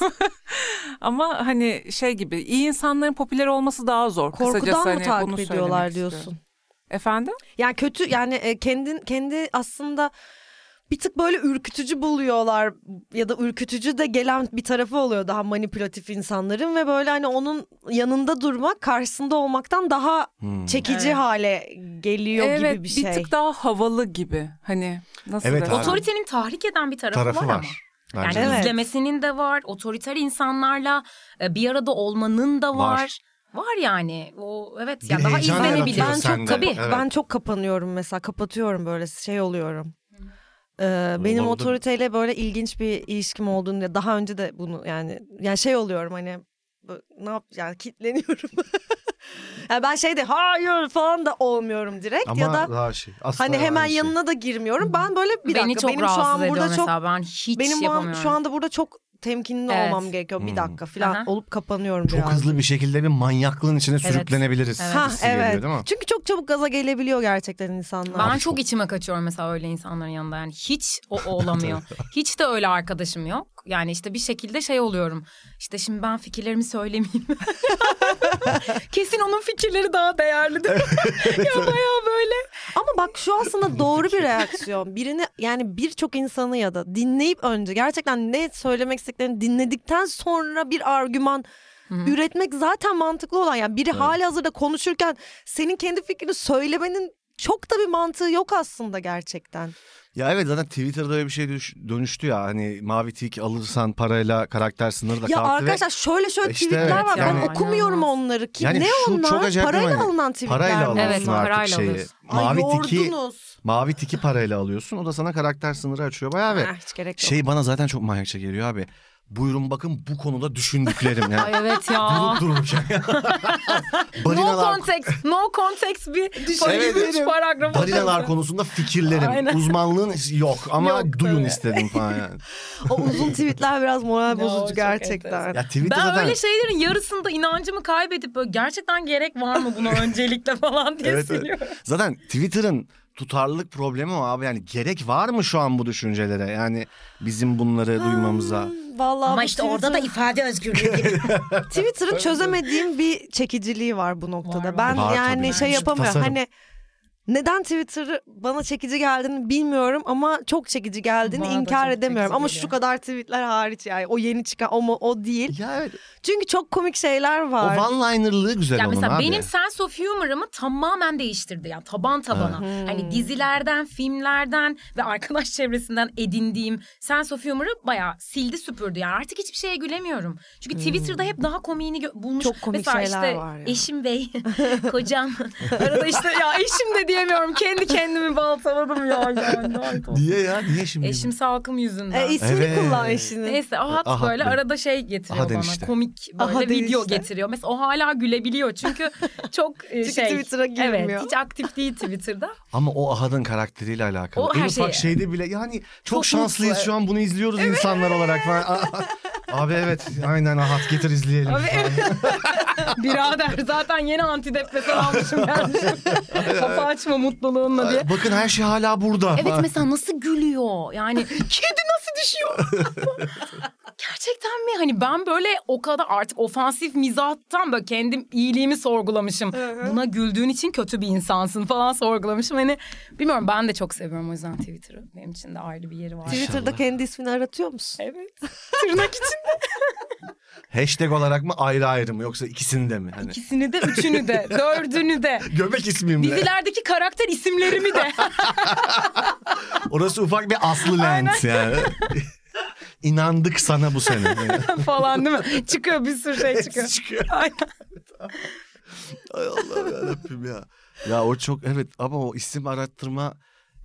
Speaker 5: Ama hani şey gibi iyi insanların popüler olması daha zor. Kısacası
Speaker 1: Korkudan mı
Speaker 5: hani bunu
Speaker 1: takip
Speaker 5: söylemek
Speaker 1: ediyorlar
Speaker 5: istiyorum.
Speaker 1: diyorsun?
Speaker 5: Efendim?
Speaker 1: Yani kötü yani e, kendin kendi aslında bir tık böyle ürkütücü buluyorlar ya da ürkütücü de gelen bir tarafı oluyor daha manipülatif insanların ve böyle hani onun yanında durmak karşısında olmaktan daha
Speaker 3: Hmm.
Speaker 1: çekici
Speaker 4: Evet.
Speaker 1: hale geliyor
Speaker 5: evet,
Speaker 1: gibi bir şey.
Speaker 5: bir tık daha havalı gibi. Hani nasıl
Speaker 3: Evet
Speaker 5: desem?
Speaker 3: abi.
Speaker 4: Otoritenin tahrik eden bir tarafı,
Speaker 3: Tarafı
Speaker 4: var ama.
Speaker 3: var.
Speaker 4: Yani
Speaker 3: Bence
Speaker 1: Evet.
Speaker 4: izlemesinin de var, otoriter insanlarla e, bir arada olmanın da var.
Speaker 3: Var.
Speaker 4: Var, yani. O evet
Speaker 3: Bir
Speaker 4: ya daha
Speaker 3: heyecan
Speaker 4: izlenebilir.
Speaker 3: yaratıyor
Speaker 1: Ben
Speaker 3: sende.
Speaker 1: çok tabii
Speaker 3: Evet.
Speaker 1: Eh, ben çok kapanıyorum mesela kapatıyorum böyle şey oluyorum. Ee, benim
Speaker 3: oldu.
Speaker 1: otoriteyle böyle ilginç bir ilişkim olduğunda daha önce de bunu yani yani şey oluyorum hani bu- ne yap yani kitleniyorum. yani ben şey de hayır falan da olmuyorum direkt
Speaker 3: Ama
Speaker 1: ya da
Speaker 3: daha şey. aslında
Speaker 1: hani hemen
Speaker 3: aynı şey.
Speaker 1: yanına da girmiyorum. Ben böyle bir
Speaker 4: Beni
Speaker 1: dakika
Speaker 4: çok
Speaker 1: benim şu
Speaker 4: rahatsız
Speaker 1: an
Speaker 4: ediyor
Speaker 1: burada çok
Speaker 4: mesela. ben hiç
Speaker 1: benim şu an,
Speaker 4: yapamıyorum.
Speaker 1: şu anda burada çok temkinli
Speaker 4: Evet.
Speaker 1: olmam gerekiyor. Bir
Speaker 3: Hmm.
Speaker 1: dakika falan
Speaker 4: Aha.
Speaker 1: olup kapanıyorum
Speaker 3: Çok
Speaker 1: biraz.
Speaker 3: hızlı bir şekilde bir manyaklığın içine sürüklenebiliriz.
Speaker 4: Evet.
Speaker 1: Ha
Speaker 3: hissi geliyor,
Speaker 1: evet.
Speaker 3: değil mi?
Speaker 1: Çünkü çok çabuk gaza gelebiliyor gerçekten insanlar.
Speaker 4: Ben
Speaker 3: Abi
Speaker 4: çok
Speaker 3: çok-
Speaker 4: içime kaçıyorum mesela öyle insanların yanında yani hiç o, o olamıyor. hiç de öyle arkadaşım yok. Yani işte bir şekilde şey oluyorum. İşte şimdi ben fikirlerimi söylemeyeyim. Kesin onun fikirleri daha değerlidir. ya bayağı böyle.
Speaker 1: Ama bak şu aslında doğru bir reaksiyon. Birini yani birçok insanı ya da dinleyip önce gerçekten ne söylemek istediklerini dinledikten sonra bir argüman üretmek zaten mantıklı olan. Yani biri hali hazırda konuşurken senin kendi fikrini söylemenin Çok da bir mantığı yok aslında gerçekten.
Speaker 3: Ya evet zaten Twitter'da öyle bir şey düş- dönüştü ya. Hani mavi tik alırsan parayla karakter sınırı da
Speaker 1: Ya
Speaker 3: kalktı ve
Speaker 1: arkadaşlar şöyle şöyle
Speaker 3: İşte
Speaker 1: tweetler
Speaker 3: evet,
Speaker 1: var.
Speaker 3: yani-
Speaker 1: ben okumuyorum onları ki.
Speaker 3: Yani
Speaker 1: ne
Speaker 3: şu
Speaker 1: onlar?
Speaker 3: çok acayip değil
Speaker 1: parayla
Speaker 3: mi?
Speaker 1: alınan tweetler.
Speaker 3: parayla
Speaker 1: mi?
Speaker 3: alıyorsun
Speaker 4: Evet,
Speaker 3: artık
Speaker 4: parayla
Speaker 3: şeyi.
Speaker 4: alıyorsun.
Speaker 1: Ay
Speaker 3: Mavi tiki,
Speaker 1: yordunuz.
Speaker 3: mavi tiki parayla alıyorsun. O da sana karakter sınırı açıyor bayağı ve
Speaker 1: Ah, hiç gerek yok.
Speaker 3: şey bana zaten çok manyakça geliyor abi. Buyurun bakın bu konuda düşündüklerim ya.
Speaker 4: Ay evet ya.
Speaker 3: Durup dururken.
Speaker 4: no
Speaker 3: Balinalar,
Speaker 4: context. No context bir
Speaker 3: Evet,
Speaker 4: paragraf. üç
Speaker 3: evet.
Speaker 4: paragraf.
Speaker 3: balinalar konusunda fikirlerim.
Speaker 4: Aynen.
Speaker 3: Uzmanlığın yok ama
Speaker 4: Yok,
Speaker 3: duyun
Speaker 4: tabii.
Speaker 3: istedim falan yani.
Speaker 1: o uzun tweetler biraz moral
Speaker 4: Ya, o
Speaker 1: bozucu
Speaker 4: çok
Speaker 1: gerçekten.
Speaker 3: Ya Twitter
Speaker 4: Ben
Speaker 3: zaten...
Speaker 4: öyle şeylerin yarısında inancımı kaybedip böyle gerçekten gerek var mı buna öncelikle falan diye
Speaker 3: Evet, evet.
Speaker 4: siliyorum.
Speaker 3: Zaten Twitter'ın tutarlılık problemi o abi. Yani gerek var mı şu an bu düşüncelere? Yani bizim bunları duymamıza.
Speaker 1: Hmm, Vallahi bu Twitter-
Speaker 4: ifade özgürlüğü gibi.
Speaker 1: Twitter'ın çözemediğim bir çekiciliği var bu noktada.
Speaker 4: Var, var.
Speaker 1: Ben
Speaker 3: Var
Speaker 1: yani
Speaker 3: tabii.
Speaker 1: şey
Speaker 3: Yani
Speaker 1: yapamıyorum.
Speaker 3: tasarım.
Speaker 1: Hani neden Twitter'ı bana çekici geldiğini bilmiyorum ama çok çekici geldiğini
Speaker 4: Bana da
Speaker 1: inkar
Speaker 4: çok
Speaker 1: edemiyorum.
Speaker 4: çekici
Speaker 1: Ama
Speaker 4: geliyor.
Speaker 1: şu kadar tweetler hariç yani o yeni çıkan o mu o değil.
Speaker 3: Ya evet.
Speaker 1: Çünkü çok komik şeyler
Speaker 3: O
Speaker 1: var.
Speaker 3: one-liner'lığı güzel
Speaker 4: ya
Speaker 3: onun
Speaker 4: mesela
Speaker 3: abi.
Speaker 4: benim sense of humor'ımı tamamen değiştirdi. Yani taban tabana. Hani dizilerden, filmlerden ve arkadaş çevresinden edindiğim sense of humor'ı bayağı sildi süpürdü. Yani artık hiçbir şeye gülemiyorum. Çünkü Twitter'da hep daha komiğini gö- bulmuş.
Speaker 1: Çok komik
Speaker 4: mesela
Speaker 1: şeyler
Speaker 4: işte
Speaker 1: var ya.
Speaker 4: eşim bey, kocam. Arada işte ya eşim de diyemiyorum. Kendi kendimi baltaladım ya. Yani. ne yapalım?
Speaker 3: Niye ya? Niye şimdi?
Speaker 4: Eşim salkım yüzünden.
Speaker 1: E, ismini
Speaker 3: Evet.
Speaker 1: kullan eşinin.
Speaker 4: Neyse Ahat
Speaker 3: Ahat
Speaker 4: böyle
Speaker 3: Bey.
Speaker 4: arada şey getiriyor
Speaker 3: Aha den
Speaker 4: bana
Speaker 3: işte.
Speaker 4: komik böyle
Speaker 1: Aha den
Speaker 4: video
Speaker 1: işte.
Speaker 4: getiriyor. Mesela o hala gülebiliyor çünkü çok e,
Speaker 1: Çünkü
Speaker 4: şey.
Speaker 1: Twitter'a girmiyor.
Speaker 4: Evet hiç aktif değil Twitter'da.
Speaker 3: Ama o Ahad'ın karakteriyle alakalı.
Speaker 4: O
Speaker 3: en
Speaker 4: her
Speaker 3: ufak
Speaker 4: şeyi-
Speaker 3: şeyde bile yani çok,
Speaker 4: Çok
Speaker 3: şanslıyız
Speaker 4: mutlu.
Speaker 3: şu an bunu izliyoruz insanlar olarak falan. abi evet aynen Ahad getir izleyelim.
Speaker 4: Abi evet. Birader zaten yeni antidepresan almışım gelmişim. Kafa açma mutluluğunla diye.
Speaker 3: Bakın her şey hala burada.
Speaker 4: Evet mesela nasıl gülüyor? Yani kedi nasıl düşüyor? Gerçekten mi? Hani ben böyle o kadar artık ofansif mizahtan böyle kendim iyiliğimi sorgulamışım. Buna güldüğün için kötü bir insansın falan sorgulamışım. Hani bilmiyorum ben de çok seviyorum o yüzden Twitter'ı. Benim için de ayrı bir yeri var.
Speaker 3: Twitter-
Speaker 1: Twitter'da kendi ismini aratıyor musun?
Speaker 4: Evet. Tırnak için
Speaker 3: Hashtag olarak mı ayrı ayrı mı yoksa ikisini de mi? Hani
Speaker 4: ikisini de, üçünü de, dördünü de.
Speaker 3: göbek ismimle.
Speaker 4: Dizilerdeki karakter isimlerimi de.
Speaker 3: Orası ufak bir aslı lens yani. İnandık sana bu sene.
Speaker 4: falan değil mi? Çıkıyor bir sürü şey çıkıyor.
Speaker 3: Çıkıyor.
Speaker 4: Aynen.
Speaker 3: Ay Allah'ım yarabbim ya. Ya o çok evet ama o isim arattırma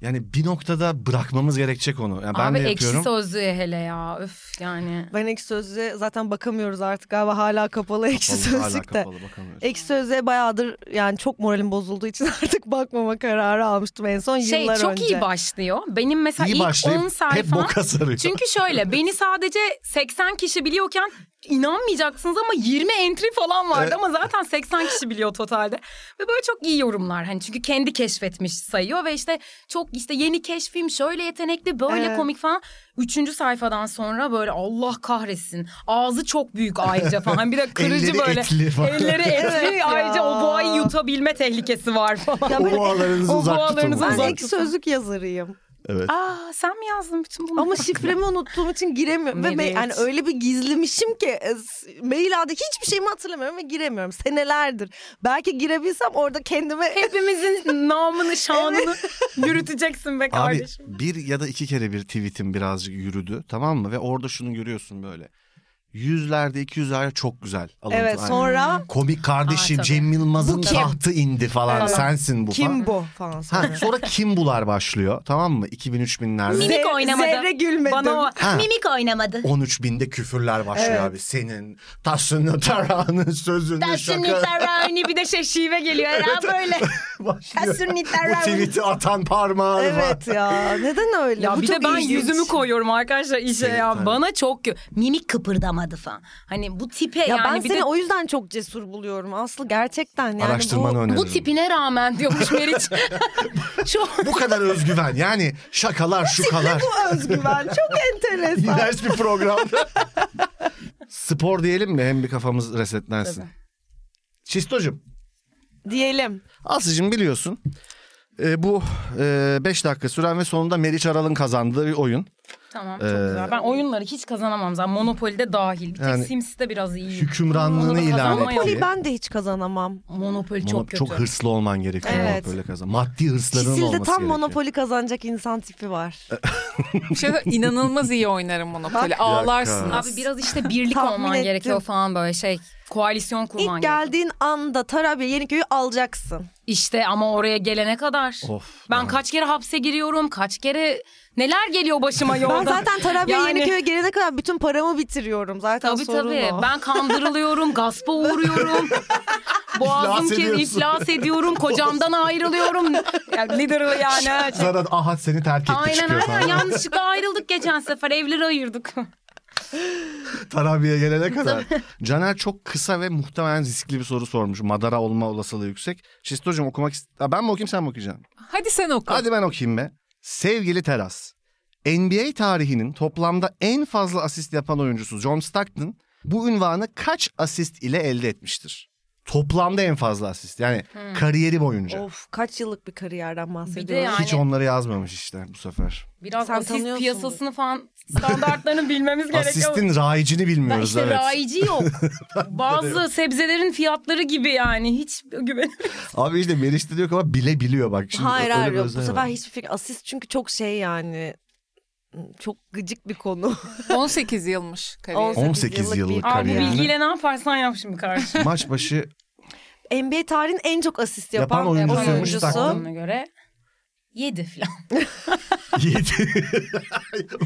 Speaker 3: yani bir noktada bırakmamız gerekecek onu. Yani ben
Speaker 4: Abi
Speaker 3: de
Speaker 4: ekşi
Speaker 3: yapıyorum.
Speaker 4: sözlüğe hele ya. Öf yani.
Speaker 1: Ben ekşi sözlüğe zaten bakamıyoruz artık galiba hala kapalı ekşi
Speaker 3: Kapalı, hala
Speaker 1: sözlükte.
Speaker 3: kapalı, bakamıyoruz.
Speaker 1: Ekşi Sözlüğe bayağıdır yani çok moralim bozulduğu için artık bakmama kararı almıştım en son
Speaker 4: şey
Speaker 1: yıllar
Speaker 4: çok
Speaker 1: önce.
Speaker 4: iyi başlıyor. Benim mesela
Speaker 3: İyi
Speaker 4: ilk
Speaker 3: başlayıp
Speaker 4: 10
Speaker 3: hep
Speaker 4: sayfam.
Speaker 3: boka sarıyor.
Speaker 4: Çünkü şöyle beni sadece 80 kişi biliyorken inanmayacaksınız ama 20 entry falan vardı ama zaten 80 kişi biliyor totalde. Ve böyle çok iyi yorumlar hani çünkü kendi keşfetmiş sayıyor ve işte çok işte yeni keşfim şöyle yetenekli böyle
Speaker 1: Evet.
Speaker 4: komik falan. Üçüncü sayfadan sonra böyle Allah kahretsin ağzı çok büyük ayrıca falan bir de kırıcı
Speaker 3: Elleri
Speaker 4: böyle.
Speaker 3: etli falan.
Speaker 4: Elleri etli
Speaker 1: Evet ya.
Speaker 4: ayrıca o boğayı yutabilme tehlikesi var falan.
Speaker 1: Ya böyle-
Speaker 3: Ovalarınızı
Speaker 4: O
Speaker 3: uzak tutun.
Speaker 4: ovalarınızı
Speaker 1: ben
Speaker 4: uzak-
Speaker 1: ekşi sözlük yazarıyım.
Speaker 3: Evet.
Speaker 4: Aa sen mi yazdın bütün bunları?
Speaker 1: Ama şifremi unuttuğum için giremiyorum. Ve me-
Speaker 4: Evet.
Speaker 1: yani öyle bir gizlemişim ki e, s- mail adı hiçbir şeyimi hatırlamıyorum ve giremiyorum. Senelerdir. Belki girebilsem orada kendime
Speaker 4: Hepimizin namını şanını yürüteceksin be
Speaker 3: Abi
Speaker 4: kardeşim.
Speaker 3: bir ya da iki kere bir tweetim birazcık yürüdü tamam mı? Ve orada şunu görüyorsun böyle. Yüzlerde iki yüzlerde çok güzel. alıntı.
Speaker 1: evet
Speaker 3: Aynen.
Speaker 1: sonra
Speaker 3: Komik
Speaker 4: Aa,
Speaker 3: kardeşim
Speaker 4: tabii.
Speaker 3: Cem Yılmaz'ın
Speaker 4: Bu kim?
Speaker 3: tahtı indi falan.
Speaker 4: Evet.
Speaker 3: Sensin bu falan.
Speaker 1: kim bu falan sonra.
Speaker 3: Ha, sonra kim bular başlıyor tamam mı? 2000-3000'lerde.
Speaker 4: Mini- Mimik
Speaker 1: Ze-
Speaker 4: oynamadı.
Speaker 1: Zerre gülmedim.
Speaker 4: Bana o
Speaker 3: Ha.
Speaker 4: mimik oynamadı.
Speaker 3: 13 binde küfürler başlıyor abi. Senin taşını tarağının sözünü şaka
Speaker 4: Sünnitarani bir de şey şive geliyor ya böyle.
Speaker 3: başlıyor.
Speaker 4: Sünnitar
Speaker 3: Bu tweet'i atan parmağın var.
Speaker 1: Evet ya neden öyle?
Speaker 4: Ya
Speaker 1: Bu
Speaker 4: bir de
Speaker 1: çok
Speaker 4: ben
Speaker 1: ilginç.
Speaker 4: yüzümü koyuyorum arkadaşlar işe
Speaker 3: Evet,
Speaker 4: ya.
Speaker 3: tabii.
Speaker 4: Bana çok gö- mimik kıpırdamadı falan. Hani bu tipe
Speaker 1: Ya
Speaker 4: yani
Speaker 1: ben
Speaker 4: bir
Speaker 1: seni
Speaker 4: de
Speaker 1: o yüzden çok cesur buluyorum Aslı gerçekten yani
Speaker 3: Araştırmanı
Speaker 1: bu...
Speaker 3: öneririm.
Speaker 4: bu tipine rağmen diyormuş Meriç. Şu
Speaker 3: Bu kadar özgüven yani şakalar şukalar.
Speaker 1: Bu özgüven çok enteresan.
Speaker 3: İğrenç bir program. Spor diyelim mi? Hem bir kafamız resetlensin. Çistocuğum,
Speaker 1: Diyelim.
Speaker 3: Aslı'cığım e, biliyorsun e, bu 5 dakika süren ve sonunda Meriç Aral'ın kazandığı bir oyun.
Speaker 4: Tamam çok
Speaker 3: Ee,
Speaker 4: güzel. Ben oyunları hiç kazanamam zaten. Monopoly'de dahil. Bir tek
Speaker 3: Yani
Speaker 4: Sims'te biraz iyiyim.
Speaker 3: Hükümranlığını ilan
Speaker 4: Ama
Speaker 1: Monopoly
Speaker 3: ettiği.
Speaker 1: ben de hiç kazanamam.
Speaker 4: Monopoly
Speaker 3: Mono-
Speaker 4: çok kötü.
Speaker 3: çok hırslı olman gerekiyor
Speaker 1: Evet.
Speaker 3: Monopoly'de kazan. Maddi hırsların olması
Speaker 1: Kisil'de tam
Speaker 3: gerekiyor. E,
Speaker 1: Monopoly kazanacak insan tipi var.
Speaker 5: Bir şey de- inanılmaz iyi oynarım Monopoly. Ağlarsınız.
Speaker 4: Abi biraz işte birlik
Speaker 1: Tahmin
Speaker 4: olman
Speaker 1: ettim.
Speaker 4: gerekiyor falan böyle şey. Koalisyon kurman
Speaker 1: İlk
Speaker 4: gerekiyor.
Speaker 1: geldiğin anda Tarabya Yeniköy'ü alacaksın.
Speaker 4: İşte ama oraya gelene kadar.
Speaker 3: Of,
Speaker 4: ben
Speaker 3: aha.
Speaker 4: kaç kere hapse giriyorum. Kaç kere neler geliyor başıma yolda.
Speaker 1: Ben zaten Tarabya
Speaker 4: Yani-
Speaker 1: Yeniköy'e gelene kadar bütün paramı bitiriyorum. Zaten
Speaker 4: Tabii
Speaker 1: sorun
Speaker 4: tabii.
Speaker 1: o.
Speaker 4: Ben kandırılıyorum, gaspa uğruyorum. Boğazım
Speaker 3: İflas
Speaker 4: kes,
Speaker 3: ediyorsun.
Speaker 4: iflas ediyorum, kocamdan ayrılıyorum. Yani literal yani.
Speaker 3: Zaten Ahad seni terk etti
Speaker 4: Aynen
Speaker 3: çıkıyor
Speaker 4: aynen
Speaker 3: falan.
Speaker 4: yanlışlıkla ayrıldık geçen sefer evleri ayırdık.
Speaker 3: Tarabya'ya gelene kadar. Caner çok kısa ve muhtemelen riskli bir soru sormuş. Madara olma olasılığı yüksek. Şistocuğum okumak... ist- Aa, ben mi okuyayım sen mi okuyacaksın?
Speaker 5: Hadi sen oku.
Speaker 3: Hadi ben okuyayım be. Sevgili Teras. NBA tarihinin toplamda en fazla asist yapan oyuncusu John Stockton bu ünvanı kaç asist ile elde etmiştir? Toplamda en fazla asist. Yani kariyeri boyunca.
Speaker 1: Of kaç yıllık bir kariyerden bahsediyoruz.
Speaker 4: yani-
Speaker 3: Hiç onları yazmamış işte bu sefer.
Speaker 4: Biraz
Speaker 1: Sen
Speaker 4: asist
Speaker 1: tanıyorsun
Speaker 4: piyasasını falan standartlarını bilmemiz gerekiyor.
Speaker 3: Asistin rayicini
Speaker 4: Ben
Speaker 3: bilmiyoruz
Speaker 4: işte
Speaker 3: evet.
Speaker 4: raici yok. Bazı sebzelerin fiyatları gibi yani hiç güven.
Speaker 3: Abi işte Meriç de diyor ki ama bile biliyor bak. Şimdi
Speaker 1: hayır
Speaker 3: öyle
Speaker 1: hayır
Speaker 3: bir
Speaker 1: yok. bu
Speaker 3: özelliği
Speaker 1: sefer
Speaker 3: var.
Speaker 1: hiçbir fikir. Asist çünkü çok şey yani çok gıcık bir konu.
Speaker 5: 18 yılmış kariyer.
Speaker 3: 18 yıllık
Speaker 1: bir-
Speaker 4: Aa, bu
Speaker 3: Kariyerine.
Speaker 4: bilgiyle ne yaparsan yap şimdi karşı.
Speaker 3: Maç başı
Speaker 1: NBA tarihin en çok asist yapan,
Speaker 3: Yapan oyuncusu
Speaker 1: yapan
Speaker 3: Yumuş taktın.
Speaker 4: Ona göre 7 falan.
Speaker 3: 7.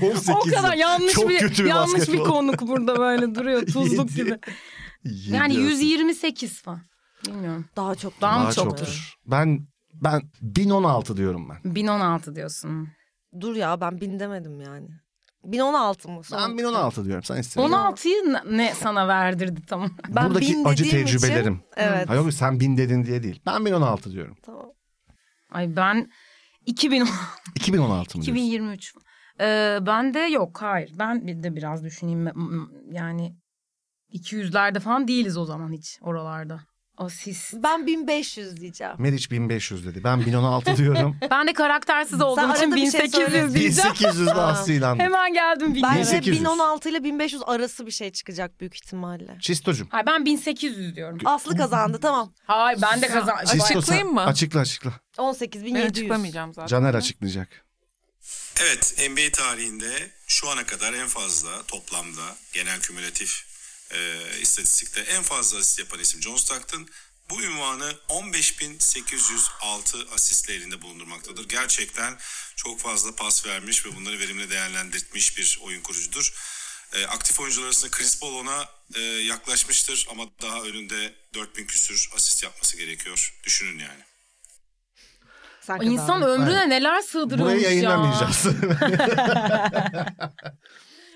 Speaker 3: 18
Speaker 4: O kadar
Speaker 3: yıl.
Speaker 4: yanlış
Speaker 3: Çok
Speaker 4: bir,
Speaker 3: kötü bir
Speaker 4: yanlış bir
Speaker 3: basketbol.
Speaker 4: konuk burada böyle duruyor tuzluk
Speaker 3: Yedi.
Speaker 4: gibi.
Speaker 3: Yedi
Speaker 4: Yani
Speaker 3: asist.
Speaker 4: 128 falan. Bilmiyorum.
Speaker 1: daha çok.
Speaker 4: Daha mı
Speaker 3: Daha
Speaker 4: çoktur?
Speaker 3: çoktur. Ben ben 1016 diyorum ben.
Speaker 4: 1016 diyorsun.
Speaker 1: Dur ya ben bin demedim yani. 1016 mı? Son-
Speaker 3: Ben 1016 diyorum. Sen istedin.
Speaker 4: 16'yı ne- ne sana verdirdi tam?
Speaker 1: Ben
Speaker 3: Buradaki
Speaker 1: bin
Speaker 3: acı
Speaker 1: dediğim
Speaker 3: tecrübelerim.
Speaker 1: Için, evet.
Speaker 3: Ha yok sen 1000 dedin diye değil. Ben 1016 diyorum.
Speaker 1: Tamam.
Speaker 4: Ay ben 2000,
Speaker 3: 2016 mı diyorsun?
Speaker 4: 2023. Ee, ben de yok hayır. Ben bir de biraz düşüneyim. M- m- Yani 200'lerde falan değiliz o zaman hiç oralarda. Asist.
Speaker 1: Ben 1500 diyeceğim.
Speaker 3: Meriç 1500 dedi. Ben 1016 diyorum.
Speaker 4: Ben de karaktersiz olduğum
Speaker 1: arada
Speaker 4: için
Speaker 1: bir şey
Speaker 4: 1800
Speaker 1: söyle.
Speaker 4: diyeceğim.
Speaker 3: 1800 de Aslı'yla.
Speaker 4: Hemen geldim bilgiye.
Speaker 1: Bence
Speaker 3: 1800.
Speaker 1: 1016 ile 1500 arası bir şey çıkacak büyük ihtimalle.
Speaker 3: Çistocuğum.
Speaker 4: Hayır ben 1800 diyorum.
Speaker 1: Aslı kazandı tamam.
Speaker 4: Hayır ben de kazan.
Speaker 1: şey
Speaker 3: Çisto sen-
Speaker 5: Açıklayayım mı?
Speaker 3: Açıkla açıkla.
Speaker 1: 18700.
Speaker 5: Ben açıklamayacağım zaten.
Speaker 3: Caner açıklayacak.
Speaker 2: Evet, NBA tarihinde şu ana kadar en fazla toplamda genel kümülatif e, istatistikte en fazla asist yapan isim John Stockton. Bu ünvanı 15.806 asistle elinde bulundurmaktadır. Gerçekten çok fazla pas vermiş ve bunları verimli değerlendirmiş bir oyun kurucudur. E, aktif oyuncular arasında Chris Paul ona e, yaklaşmıştır ama daha önünde 4000 küsür asist yapması gerekiyor. Düşünün yani.
Speaker 1: Sen
Speaker 4: Ay,
Speaker 1: kazandın.
Speaker 4: İnsan ömrüne neler sığdırıyormuş
Speaker 3: Burayı
Speaker 4: ya.
Speaker 3: yayınlamayacağız.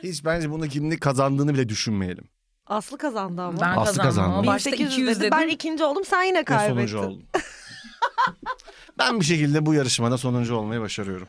Speaker 3: Hiç bence bunu kimlik kazandığını bile düşünmeyelim.
Speaker 1: Aslı kazandı ama.
Speaker 4: Ben
Speaker 3: Aslı
Speaker 4: kazandım. ama
Speaker 3: kazandı.
Speaker 4: Başta 200
Speaker 1: 1800
Speaker 4: dedim.
Speaker 1: dedi. Ben ikinci oldum sen yine
Speaker 3: Ve
Speaker 1: kaybettin.
Speaker 3: sonuncu oldum. ben bir şekilde bu yarışmada sonuncu olmayı başarıyorum.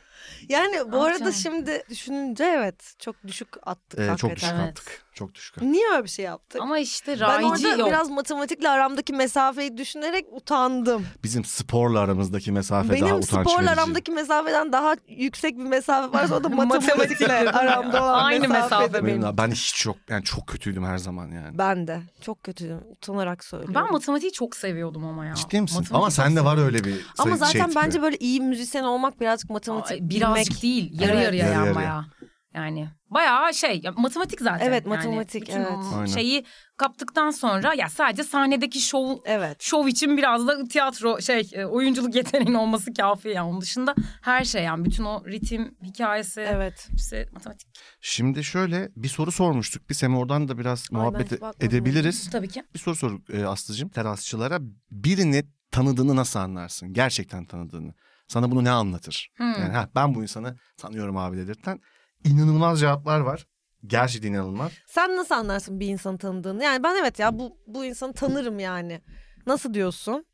Speaker 1: Yani bu arada
Speaker 4: canım.
Speaker 1: şimdi düşününce evet çok düşük attık
Speaker 3: Ee,
Speaker 1: hakikaten.
Speaker 3: çok düşük
Speaker 4: Evet.
Speaker 3: attık. Çok düşük attık.
Speaker 1: Niye öyle bir şey yaptık?
Speaker 4: Ama işte
Speaker 1: ben
Speaker 4: raici
Speaker 1: orada
Speaker 4: yok.
Speaker 1: biraz matematikle aramdaki mesafeyi düşünerek utandım.
Speaker 3: Bizim sporla aramızdaki mesafe daha
Speaker 1: Benim
Speaker 3: utanç verici.
Speaker 1: sporla aramdaki mesafeden daha yüksek bir mesafe varsa o da matematikle aramda olan
Speaker 4: Aynı
Speaker 1: mesafede.
Speaker 4: mesafe.
Speaker 3: Benim daha- ben hiç yok yani çok kötüydüm her zaman yani.
Speaker 1: Ben de çok kötüydüm utanarak söylüyorum.
Speaker 4: Ben matematiği çok seviyordum ama ya.
Speaker 3: Ciddi misin?
Speaker 4: Matematiği
Speaker 3: Ama
Speaker 4: çok
Speaker 3: sende
Speaker 4: seviyordum.
Speaker 3: var öyle bir
Speaker 1: Ama
Speaker 3: sayı- şey
Speaker 1: zaten
Speaker 3: tipi.
Speaker 1: bence böyle iyi müzisyen olmak birazcık matematik
Speaker 4: Ay, birazcık
Speaker 1: bilmek.
Speaker 4: değil. Yarı
Speaker 1: Evet.
Speaker 4: yarıya
Speaker 3: Yarı
Speaker 4: yani
Speaker 3: yarıya.
Speaker 4: bayağı. Yani bayağı şey ya, matematik zaten.
Speaker 1: Evet,
Speaker 4: Yani
Speaker 1: matematik,
Speaker 4: bütün
Speaker 1: evet.
Speaker 4: o
Speaker 3: Aynen.
Speaker 4: Şeyi kaptıktan sonra ya sadece sahnedeki şov
Speaker 1: Evet.
Speaker 4: şov için biraz da tiyatro şey e, oyunculuk yeteneğinin olması kafi yani. Onun dışında her şey yani bütün o ritim hikayesi
Speaker 1: Evet.
Speaker 4: hepsi matematik
Speaker 3: Şimdi şöyle bir soru sormuştuk. Biz hem oradan da biraz
Speaker 1: Ay, ben
Speaker 3: muhabbet
Speaker 1: hiç bakmadım.
Speaker 3: edebiliriz.
Speaker 4: tabii ki.
Speaker 3: Bir soru sor e, Aslı'cığım. Terasçılara birini tanıdığını nasıl anlarsın? Gerçekten tanıdığını. Sana bunu ne anlatır?
Speaker 4: Hmm.
Speaker 3: Yani ha, ben bu insanı tanıyorum abi dedirten inanılmaz cevaplar var. Gerçekten inanılmaz.
Speaker 1: Sen nasıl anlarsın bir insanı tanıdığını? Yani ben evet ya bu bu insanı tanırım yani. Nasıl diyorsun?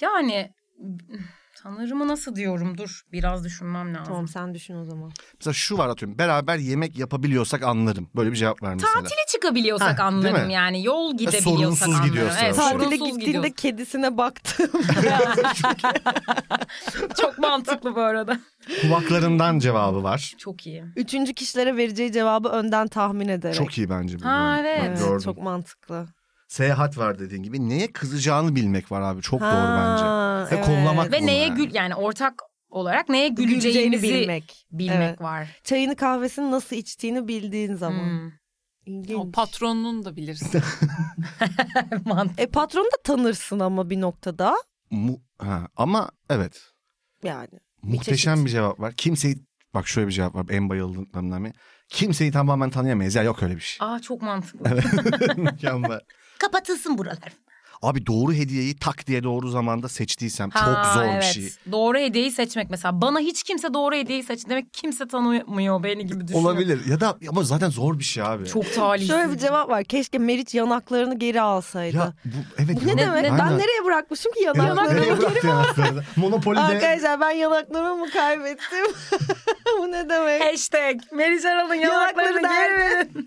Speaker 4: Yani Tanrımı nasıl diyorum? Dur biraz düşünmem lazım.
Speaker 1: Tamam sen düşün o zaman.
Speaker 3: Mesela şu var atıyorum. Beraber yemek yapabiliyorsak anlarım. Böyle bir cevap var mesela.
Speaker 4: Tatile çıkabiliyorsak
Speaker 3: Heh, değil
Speaker 4: anlarım
Speaker 3: mi? E,
Speaker 4: yani. Yol gidebiliyorsak
Speaker 3: sorunsuz
Speaker 4: anlarım.
Speaker 3: gidiyorsa.
Speaker 4: Evet,
Speaker 3: Tatile
Speaker 1: Tatile
Speaker 4: sorunsuz
Speaker 1: gittiğinde
Speaker 4: gidiyorsak.
Speaker 1: kedisine baktım.
Speaker 4: Çok mantıklı bu arada.
Speaker 3: Kulaklarından cevabı var.
Speaker 4: Çok iyi.
Speaker 1: Üçüncü kişilere vereceği cevabı önden tahmin ederek.
Speaker 3: Çok iyi bence bu.
Speaker 4: Ha, evet.
Speaker 3: Ben
Speaker 1: Evet,
Speaker 3: gördüm.
Speaker 1: çok mantıklı.
Speaker 3: Seyahat var dediğin gibi. Neye kızacağını bilmek var abi. Çok doğru bence.
Speaker 1: Ha,
Speaker 3: Ve kollamak
Speaker 4: Ve
Speaker 3: bunu
Speaker 4: neye
Speaker 3: yani.
Speaker 4: gül yani ortak olarak neye
Speaker 1: Güleceğini
Speaker 4: güleceğimizi bilmek,
Speaker 1: bilmek. Evet.
Speaker 4: var.
Speaker 1: Çayını kahvesini nasıl içtiğini bildiğin zaman.
Speaker 4: Hmm.
Speaker 1: İlginç.
Speaker 5: O patronunu da bilirsin.
Speaker 4: Mantıklı.
Speaker 1: E patronu da tanırsın ama bir noktada.
Speaker 3: Mu- ha, ama evet.
Speaker 1: Yani.
Speaker 3: Muhteşem
Speaker 1: çeşit.
Speaker 3: bir cevap var. Kimseyi bak şöyle bir cevap var. En bayıldığımdan biri. Kimseyi tamamen tanıyamayız. Ya yok öyle bir şey.
Speaker 4: Aa çok mantıklı.
Speaker 3: Mükemmel.
Speaker 4: Kapatılsın buralar.
Speaker 3: Abi doğru hediyeyi tak diye doğru zamanda seçtiysem çok
Speaker 4: Ha,
Speaker 3: zor
Speaker 4: evet.
Speaker 3: bir şey.
Speaker 4: Doğru hediyeyi seçmek mesela. Bana hiç kimse doğru hediyeyi seç. Demek ki kimse tanımıyor beni gibi düşünüyor.
Speaker 3: Olabilir. Ya da ama zaten zor bir şey abi.
Speaker 4: Çok talihsiz.
Speaker 1: Şöyle bir cevap var. Keşke Meriç yanaklarını geri alsaydı.
Speaker 3: ya bu evet.
Speaker 1: Bu ne
Speaker 3: ya-
Speaker 1: demek?
Speaker 3: aynen.
Speaker 1: Ben nereye bırakmışım ki
Speaker 3: Evet,
Speaker 1: yanaklarımı?
Speaker 3: nereye bıraktı yanaklarını? Monopoly'de
Speaker 1: Arkadaşlar ben yanaklarımı mı kaybettim? Bu ne demek?
Speaker 4: Hashtag Meriç Aral'ın
Speaker 1: Yanakları
Speaker 4: yanaklarını geri.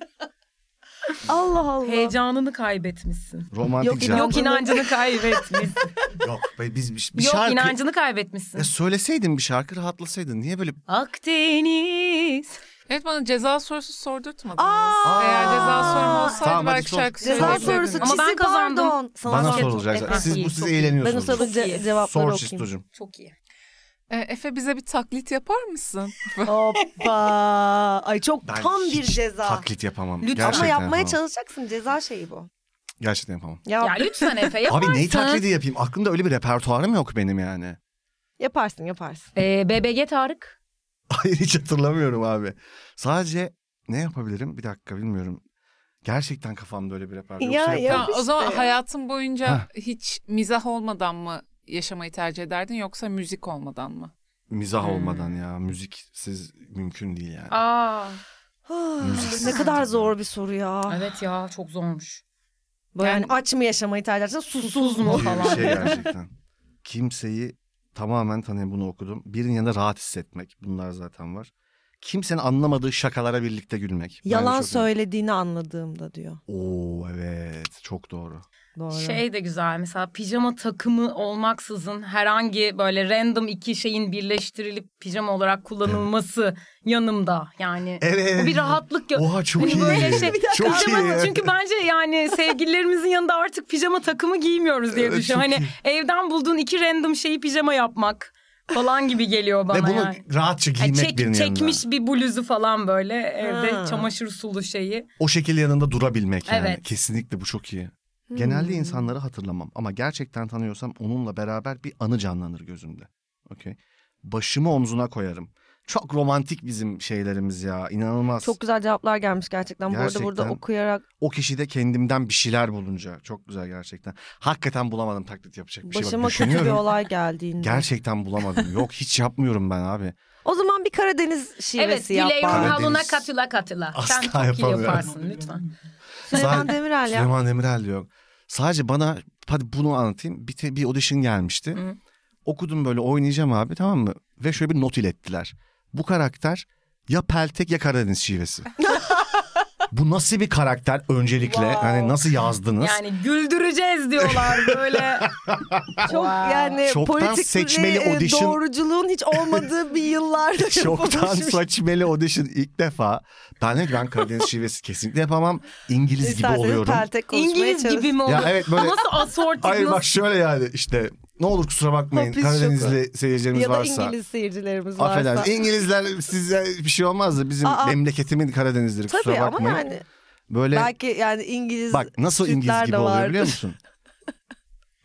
Speaker 1: Allah Allah.
Speaker 4: Heyecanını kaybetmişsin.
Speaker 3: romantik
Speaker 1: Yok,
Speaker 3: cevap.
Speaker 1: yok.
Speaker 3: Yok,
Speaker 4: Yok inancını kaybetmişsin.
Speaker 3: be, biz bir, bir
Speaker 4: Yok
Speaker 3: şarkı.
Speaker 4: inancını kaybetmişsin.
Speaker 3: Ya söyleseydin bir şarkı rahatlasaydın. Niye böyle
Speaker 4: Akdeniz.
Speaker 5: evet bana ceza sorusu sordurtmadınız.
Speaker 1: Aa!
Speaker 5: Eğer ceza sorum olsaydı
Speaker 3: Tamam, hadi
Speaker 5: belki
Speaker 3: sor.
Speaker 5: şarkı
Speaker 1: Ceza
Speaker 5: söylerdim.
Speaker 1: sorusu
Speaker 4: Ama ben
Speaker 1: çizim,
Speaker 4: kazandım.
Speaker 1: pardon. Sana
Speaker 3: bana
Speaker 1: sor-
Speaker 3: sorulacak?
Speaker 4: Efendim,
Speaker 3: Siz bu
Speaker 4: iyi,
Speaker 3: siz
Speaker 4: çok iyi.
Speaker 1: Ben o
Speaker 3: eğleniyorsunuz.
Speaker 1: sırada
Speaker 4: Çok iyi.
Speaker 1: ce- cevapları
Speaker 3: Sor
Speaker 1: okuyayım.
Speaker 3: Çistocuğum.
Speaker 4: Çok iyi.
Speaker 5: Ee, Efe bize bir taklit yapar mısın?
Speaker 1: Hoppa. Ay çok
Speaker 3: Ben
Speaker 1: tam bir
Speaker 3: hiç
Speaker 1: ceza.
Speaker 3: Taklit yapamam.
Speaker 4: Lütfen.
Speaker 3: Gerçekten
Speaker 1: Ama yapmaya
Speaker 3: yapamam.
Speaker 1: çalışacaksın. Ceza şeyi bu.
Speaker 3: Gerçekten yapamam.
Speaker 1: Ya,
Speaker 4: Ya lütfen Efe yaparsın.
Speaker 3: Abi neyi taklidi yapayım? Aklımda öyle bir repertuarım yok benim yani.
Speaker 1: yaparsın yaparsın.
Speaker 4: Ee, BBG Tarık.
Speaker 3: Hayır hiç hatırlamıyorum abi. Sadece ne yapabilirim? Bir dakika bilmiyorum. Gerçekten kafamda öyle bir repertuar.
Speaker 1: Ya,
Speaker 3: Yoksa
Speaker 1: ya.
Speaker 3: yapamam.
Speaker 5: Tamam, o zaman hayatın boyunca
Speaker 3: Hah.
Speaker 5: hiç mizah olmadan mı yaşamayı tercih ederdin yoksa müzik olmadan mı?
Speaker 3: Mizah
Speaker 1: Hmm.
Speaker 3: olmadan ya. Müziksiz mümkün değil yani.
Speaker 4: Aa.
Speaker 1: ne kadar zor bir soru ya.
Speaker 4: Evet ya çok zormuş.
Speaker 1: Böyle yani
Speaker 5: Yani-
Speaker 1: aç mı yaşamayı tercih edersin susuz mu
Speaker 3: gibi bir
Speaker 1: falan.
Speaker 3: şey gerçekten. Kimseyi tamamen tanıyan bunu okudum. Birinin yanında rahat hissetmek. Bunlar zaten var. Kimsenin anlamadığı şakalara birlikte gülmek. Bence
Speaker 1: Yalan
Speaker 3: çok-
Speaker 1: söylediğini anladığımda diyor.
Speaker 3: Oo evet çok doğru.
Speaker 1: Doğru.
Speaker 4: Şey de güzel mesela pijama takımı olmaksızın herhangi böyle random iki şeyin birleştirilip pijama olarak kullanılması yanımda yani.
Speaker 3: Evet.
Speaker 4: Bu bir rahatlık ya.
Speaker 3: Oha çok iyi.
Speaker 4: Hani böyle şey.
Speaker 3: çok
Speaker 4: Pijama-
Speaker 3: iyi.
Speaker 4: Çünkü bence yani sevgililerimizin yanında artık pijama takımı giymiyoruz diye
Speaker 3: Evet,
Speaker 4: düşünüyorum.
Speaker 3: çok
Speaker 4: Hani evden bulduğun iki random şeyi pijama yapmak falan gibi geliyor bana
Speaker 3: Ve bunu
Speaker 4: yani.
Speaker 3: rahatça
Speaker 4: Yani
Speaker 3: giymek
Speaker 4: çek-
Speaker 3: birinin
Speaker 4: çekmiş
Speaker 3: yanında.
Speaker 4: bir bluzu falan böyle evde
Speaker 1: Ha.
Speaker 4: çamaşır sulu şeyi.
Speaker 3: O şekilde yanında durabilmek yani.
Speaker 4: Evet.
Speaker 3: Kesinlikle bu çok iyi.
Speaker 1: Hmm.
Speaker 3: Genelde insanları hatırlamam ama gerçekten tanıyorsam onunla beraber bir anı canlanır gözümde. Okey. Başımı omzuna koyarım. Çok romantik bizim şeylerimiz ya. İnanılmaz.
Speaker 1: Çok güzel cevaplar gelmiş gerçekten. Bu arada burada
Speaker 3: Gerçekten.
Speaker 1: okuyarak
Speaker 3: O kişide kendimden bir şeyler bulunca. Çok güzel gerçekten. Hakikaten bulamadım taklit yapacak bir şey.
Speaker 1: başıma
Speaker 3: Bak,
Speaker 1: kötü bir
Speaker 3: düşünüyorum.
Speaker 1: olay geldiğinde.
Speaker 3: Gerçekten bulamadım. Yok hiç yapmıyorum ben abi.
Speaker 1: O zaman bir Karadeniz
Speaker 4: Evet
Speaker 1: şivesi yap
Speaker 4: Güley'in
Speaker 1: bari.
Speaker 3: Karadeniz.
Speaker 4: havluna katıla katıla. Sen
Speaker 3: Asla
Speaker 4: çok iyi
Speaker 3: yapamıyorum.
Speaker 4: yaparsın lütfen.
Speaker 1: Süleyman
Speaker 3: Zaten-
Speaker 1: Demirel ya.
Speaker 3: Süleyman Demirel diyor. Sadece bana hadi bunu anlatayım. Bir, te- bir audition gelmişti.
Speaker 4: Hı.
Speaker 3: Okudum böyle oynayacağım abi tamam mı? Ve şöyle bir not ilettiler. Bu karakter ya Peltek ya Karadeniz şivesi. Bu nasıl bir karakter öncelikle?
Speaker 4: Wow.
Speaker 3: Hani nasıl yazdınız?
Speaker 4: Yani güldüreceğiz diyorlar böyle.
Speaker 1: Çok yani
Speaker 3: Çoktan
Speaker 1: politik
Speaker 3: seçmeli
Speaker 1: e,
Speaker 3: audition-
Speaker 1: doğruculuğun hiç olmadığı bir yıllarda
Speaker 3: Çoktan
Speaker 1: yapılmış bir şey.
Speaker 3: saçmeli audition ilk defa. Ben dedim ki ben Karadeniz şivesi kesinlikle yapamam. İngiliz gibi
Speaker 1: İsterseniz
Speaker 3: oluyorum.
Speaker 1: peltek konuşmaya
Speaker 4: İngiliz
Speaker 1: çalış.
Speaker 4: gibi mi olur?
Speaker 3: Ya evet böyle
Speaker 4: Nasıl asortik
Speaker 3: Hayır
Speaker 4: nasıl?
Speaker 3: bak şöyle yani işte ne olur kusura bakmayın
Speaker 1: Hapis
Speaker 3: Karadenizli seyircilerimiz
Speaker 1: ya da
Speaker 3: varsa.
Speaker 1: İngiliz seyircilerimiz varsa.
Speaker 3: Affedersiniz. İngilizler size bir şey olmaz da bizim
Speaker 1: Aa.
Speaker 3: memleketimin Karadeniz'dir kusura
Speaker 1: Tabii ama
Speaker 3: bakmayın.
Speaker 1: yani
Speaker 3: Böyle
Speaker 1: belki yani İngiliz
Speaker 3: bak nasıl
Speaker 1: Türkler
Speaker 3: İngiliz
Speaker 1: de
Speaker 3: gibi oluyor
Speaker 1: vardır.
Speaker 3: biliyor musun?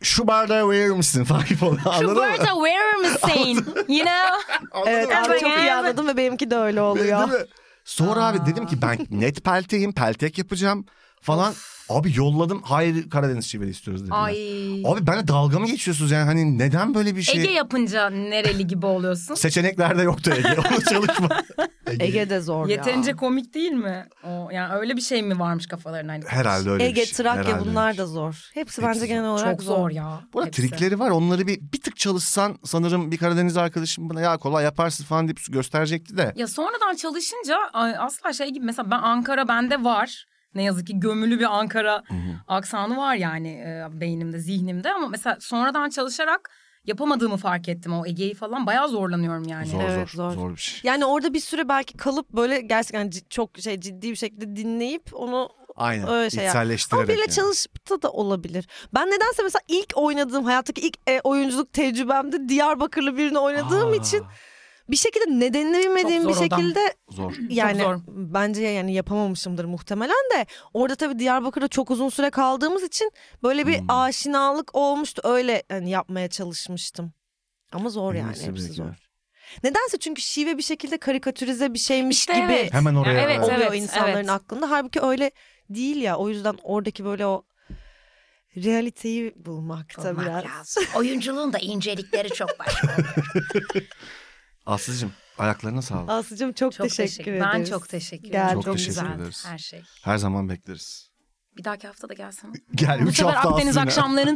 Speaker 3: Şu bardağı verir misin falan gibi oluyor. Anladın
Speaker 4: Şu
Speaker 3: mı?
Speaker 4: words are where am I saying? You know?
Speaker 1: Evet
Speaker 3: Anladın mı?
Speaker 1: abi çok iyi anladım ve benimki de öyle oluyor.
Speaker 3: Değil mi? Sonra abi dedim ki ben net pelteyim, peltek yapacağım. falan. Abi yolladım. Hayır Karadeniz şiveli istiyoruz dediler.
Speaker 4: Ay.
Speaker 3: Abi ben dalga mı geçiyorsunuz yani hani neden böyle bir şey?
Speaker 4: Ege yapınca nereli gibi oluyorsun?
Speaker 3: Seçeneklerde yoktu Ege. Onu çalışma.
Speaker 1: Ege de zor
Speaker 4: Yeterince
Speaker 1: ya.
Speaker 4: komik değil mi? O yani öyle bir şey mi varmış kafalarına? Hani
Speaker 3: Herhalde öyle
Speaker 1: Ege,
Speaker 3: bir şey.
Speaker 1: Trakya
Speaker 3: Herhalde
Speaker 1: bunlar
Speaker 3: öyle
Speaker 1: da
Speaker 3: bir şey.
Speaker 1: zor. Hepsi
Speaker 3: Hepsi
Speaker 1: bence
Speaker 3: zor.
Speaker 1: genel olarak
Speaker 4: Çok
Speaker 1: zor.
Speaker 4: zor ya.
Speaker 3: Bu arada
Speaker 4: hepsi.
Speaker 3: trikleri var. Onları bir, bir tık çalışsan sanırım bir Karadeniz arkadaşım bana ya kolay yaparsın falan deyip gösterecekti de.
Speaker 4: Ya sonradan çalışınca ay, asla şey gibi mesela ben Ankara bende var. Ne yazık ki gömülü bir Ankara aksanı var yani e, beynimde, zihnimde ama mesela sonradan çalışarak yapamadığımı fark ettim. O Ege'yi falan bayağı zorlanıyorum yani.
Speaker 3: Zor
Speaker 1: Evet,
Speaker 3: zor.
Speaker 1: zor.
Speaker 3: Zor bir şey.
Speaker 1: Yani orada bir süre belki kalıp böyle gerçekten ci- çok şey ciddi bir şekilde dinleyip onu
Speaker 3: Aynen.
Speaker 1: Öyle şey ya.
Speaker 3: İçselleştirerek
Speaker 1: ama biriyle
Speaker 3: yani.
Speaker 1: çalışıp da da olabilir. Ben nedense mesela ilk oynadığım hayattaki ilk e, oyunculuk tecrübemde Diyarbakırlı birini oynadığım
Speaker 3: Aa,
Speaker 1: için bir şekilde nedenini bilmediğim
Speaker 4: zor
Speaker 1: bir
Speaker 4: o da.
Speaker 1: şekilde
Speaker 3: Zor.
Speaker 1: yani
Speaker 4: zor.
Speaker 1: bence yani yapamamışımdır muhtemelen de orada tabii Diyarbakır'da çok uzun süre kaldığımız için böyle bir
Speaker 3: Hmm.
Speaker 1: aşinalık olmuştu. Öyle yani yapmaya çalışmıştım. Ama zor yani
Speaker 3: Neyse
Speaker 1: hepsi
Speaker 3: belki
Speaker 1: zor.
Speaker 3: de.
Speaker 1: Nedense çünkü şive bir şekilde karikatürize bir şeymiş
Speaker 4: İşte
Speaker 1: gibi
Speaker 4: evet.
Speaker 3: Hemen oraya.
Speaker 4: Evet,
Speaker 3: evet.
Speaker 1: oluyor
Speaker 4: evet,
Speaker 1: insanların
Speaker 4: evet.
Speaker 1: aklında. Halbuki öyle değil ya. O yüzden oradaki böyle o realiteyi bulmakta
Speaker 4: Olmak
Speaker 1: biraz.
Speaker 4: lazım. Oyunculuğun da incelikleri çok başka.
Speaker 3: Aslıcığım ayaklarına sağlık.
Speaker 1: Aslıcığım çok,
Speaker 4: çok
Speaker 1: teşekkür,
Speaker 4: teşekkür
Speaker 1: ederiz.
Speaker 4: Ben çok teşekkür ederim.
Speaker 1: Geldin.
Speaker 3: Çok
Speaker 4: Çok
Speaker 3: teşekkür
Speaker 4: güzeldi
Speaker 3: ederiz.
Speaker 4: her şey.
Speaker 3: Her zaman bekleriz.
Speaker 4: Bir dahaki hafta da gelsene.
Speaker 3: Gel
Speaker 4: Bu
Speaker 3: üç
Speaker 4: sefer
Speaker 3: hafta
Speaker 4: Akdeniz
Speaker 3: Aslı'yla.
Speaker 4: akşamlarının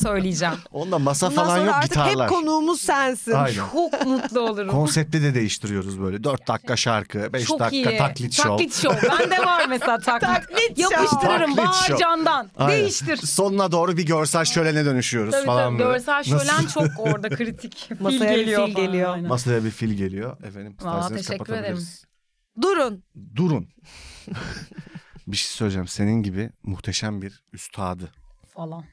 Speaker 4: söyleyeceğim.
Speaker 3: Onda masa
Speaker 1: Bundan
Speaker 3: falan
Speaker 1: sonra
Speaker 3: yok
Speaker 1: artık
Speaker 3: gitarlar.
Speaker 1: hep konuğumuz sensin.
Speaker 3: Aynen.
Speaker 4: Çok mutlu olurum.
Speaker 3: Konsepti de değiştiriyoruz böyle. 4 dakika şarkı, 5
Speaker 4: Çok
Speaker 3: dakika
Speaker 4: iyi.
Speaker 3: taklit show.
Speaker 4: Taklit show. Bende var mesela taklit.
Speaker 1: Taklit show.
Speaker 4: Yapıştırırım
Speaker 3: Taklit
Speaker 4: Bahar
Speaker 3: show.
Speaker 4: Can'dan.
Speaker 3: Aynen.
Speaker 4: Değiştir.
Speaker 3: Sonuna doğru bir görsel şölene dönüşüyoruz
Speaker 4: Tabii
Speaker 3: falan
Speaker 4: tabii
Speaker 3: böyle.
Speaker 4: görsel şölen çok orada kritik. Fil
Speaker 1: Masaya bir
Speaker 4: geliyor
Speaker 1: fil
Speaker 4: falan,
Speaker 1: geliyor.
Speaker 4: aynen.
Speaker 3: Masaya bir fil geliyor. Efendim
Speaker 4: Vallahi
Speaker 3: isterseniz
Speaker 4: teşekkür
Speaker 3: kapatabiliriz.
Speaker 1: Durun.
Speaker 3: Durun. bir şey söyleyeceğim. Senin gibi muhteşem bir üstadı
Speaker 4: falan.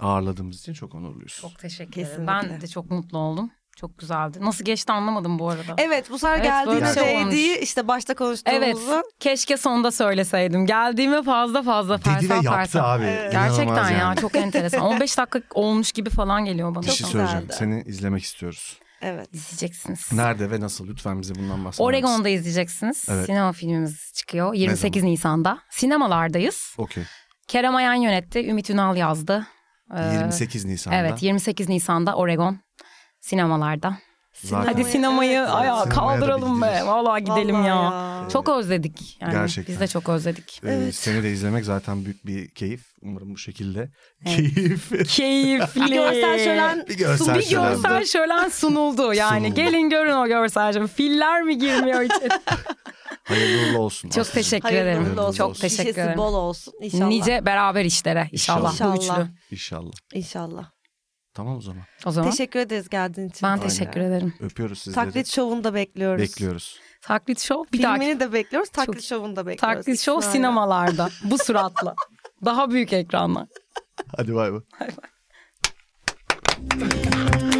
Speaker 3: ağırladığımız için çok onurluyuz.
Speaker 4: Çok teşekkür ederim.
Speaker 1: Kesinlikle.
Speaker 4: Ben de çok mutlu oldum. Çok güzeldi. Nasıl geçti anlamadım bu arada.
Speaker 1: Evet bu sefer
Speaker 4: Evet,
Speaker 1: geldiğine
Speaker 4: böyle şey olmuş.
Speaker 1: değdiği işte başta
Speaker 4: Evet.
Speaker 1: konuştuğumuzu.
Speaker 4: Keşke sonda söyleseydim. Geldiğime fazla fazla
Speaker 3: Dedi ve
Speaker 4: fersah
Speaker 3: yaptı
Speaker 4: fersah.
Speaker 3: abi. İnanılmaz
Speaker 4: Gerçekten
Speaker 3: yani.
Speaker 4: ya çok enteresan. 15 dakika olmuş gibi falan geliyor bana.
Speaker 3: Bir şey
Speaker 1: Çok
Speaker 3: söyleyeceğim.
Speaker 1: güzeldi.
Speaker 3: Seni izlemek istiyoruz.
Speaker 1: Evet.
Speaker 4: İzleyeceksiniz.
Speaker 3: Nerede ve nasıl? Lütfen bize bundan bahseder misin?
Speaker 4: Oregon'da izleyeceksiniz.
Speaker 3: Evet.
Speaker 4: Sinema filmimiz çıkıyor 28 Nisan'da. Sinemalardayız.
Speaker 3: Okey.
Speaker 4: Kerem Ayan yönetti, Ümit Ünal yazdı. Ee,
Speaker 3: 28 Nisan'da.
Speaker 4: Evet, 28 Nisan'da Oregon sinemalarda.
Speaker 3: Zaten-
Speaker 4: Hadi sinemayı
Speaker 1: evet.
Speaker 4: ayağa
Speaker 3: Sinemaya da
Speaker 4: kaldıralım be.
Speaker 3: gideceğiz.
Speaker 4: Vallahi gidelim
Speaker 1: Vallahi
Speaker 4: ya.
Speaker 1: ya.
Speaker 4: Çok özledik. Yani
Speaker 3: Gerçekten.
Speaker 4: Biz de çok özledik.
Speaker 3: Ee, Seni de izlemek zaten büyük bir keyif. Umarım bu şekilde. Keyif.
Speaker 4: Keyifli.
Speaker 1: Bir görsel şölen.
Speaker 3: bir görsel
Speaker 4: Bir
Speaker 3: şölen.
Speaker 4: görsel şölen sunuldu. Yani
Speaker 3: Sunuldu.
Speaker 4: gelin görün o görsel şölen. Filler mi girmiyor içeri?
Speaker 3: Hayırlı uğurlu olsun.
Speaker 4: çok
Speaker 3: Aslıcığım.
Speaker 4: teşekkür
Speaker 1: Hayırlı
Speaker 4: ederim.
Speaker 1: uğurlu olsun.
Speaker 4: Çok teşekkür
Speaker 1: Şişesi
Speaker 4: ederim.
Speaker 1: bol olsun inşallah.
Speaker 4: Nice beraber işlere inşallah,
Speaker 1: İnşallah.
Speaker 4: bu üçlü.
Speaker 3: İnşallah.
Speaker 1: İnşallah.
Speaker 3: Tamam o zaman.
Speaker 4: O zaman
Speaker 1: Teşekkür ederiz geldiğin için.
Speaker 4: ben teşekkür ederim.
Speaker 3: Öpüyoruz sizleri.
Speaker 1: Taklit şovunu da bekliyoruz.
Speaker 3: Bekliyoruz.
Speaker 4: Taklit Show bir dahaki
Speaker 1: Filmini de bekliyoruz. Taklit
Speaker 4: Çok-
Speaker 1: şovunu da bekliyoruz.
Speaker 4: Taklit Show
Speaker 1: İsmail'e.
Speaker 4: sinemalarda bu suratla. Daha büyük ekranlar.
Speaker 3: Hadi bay bay.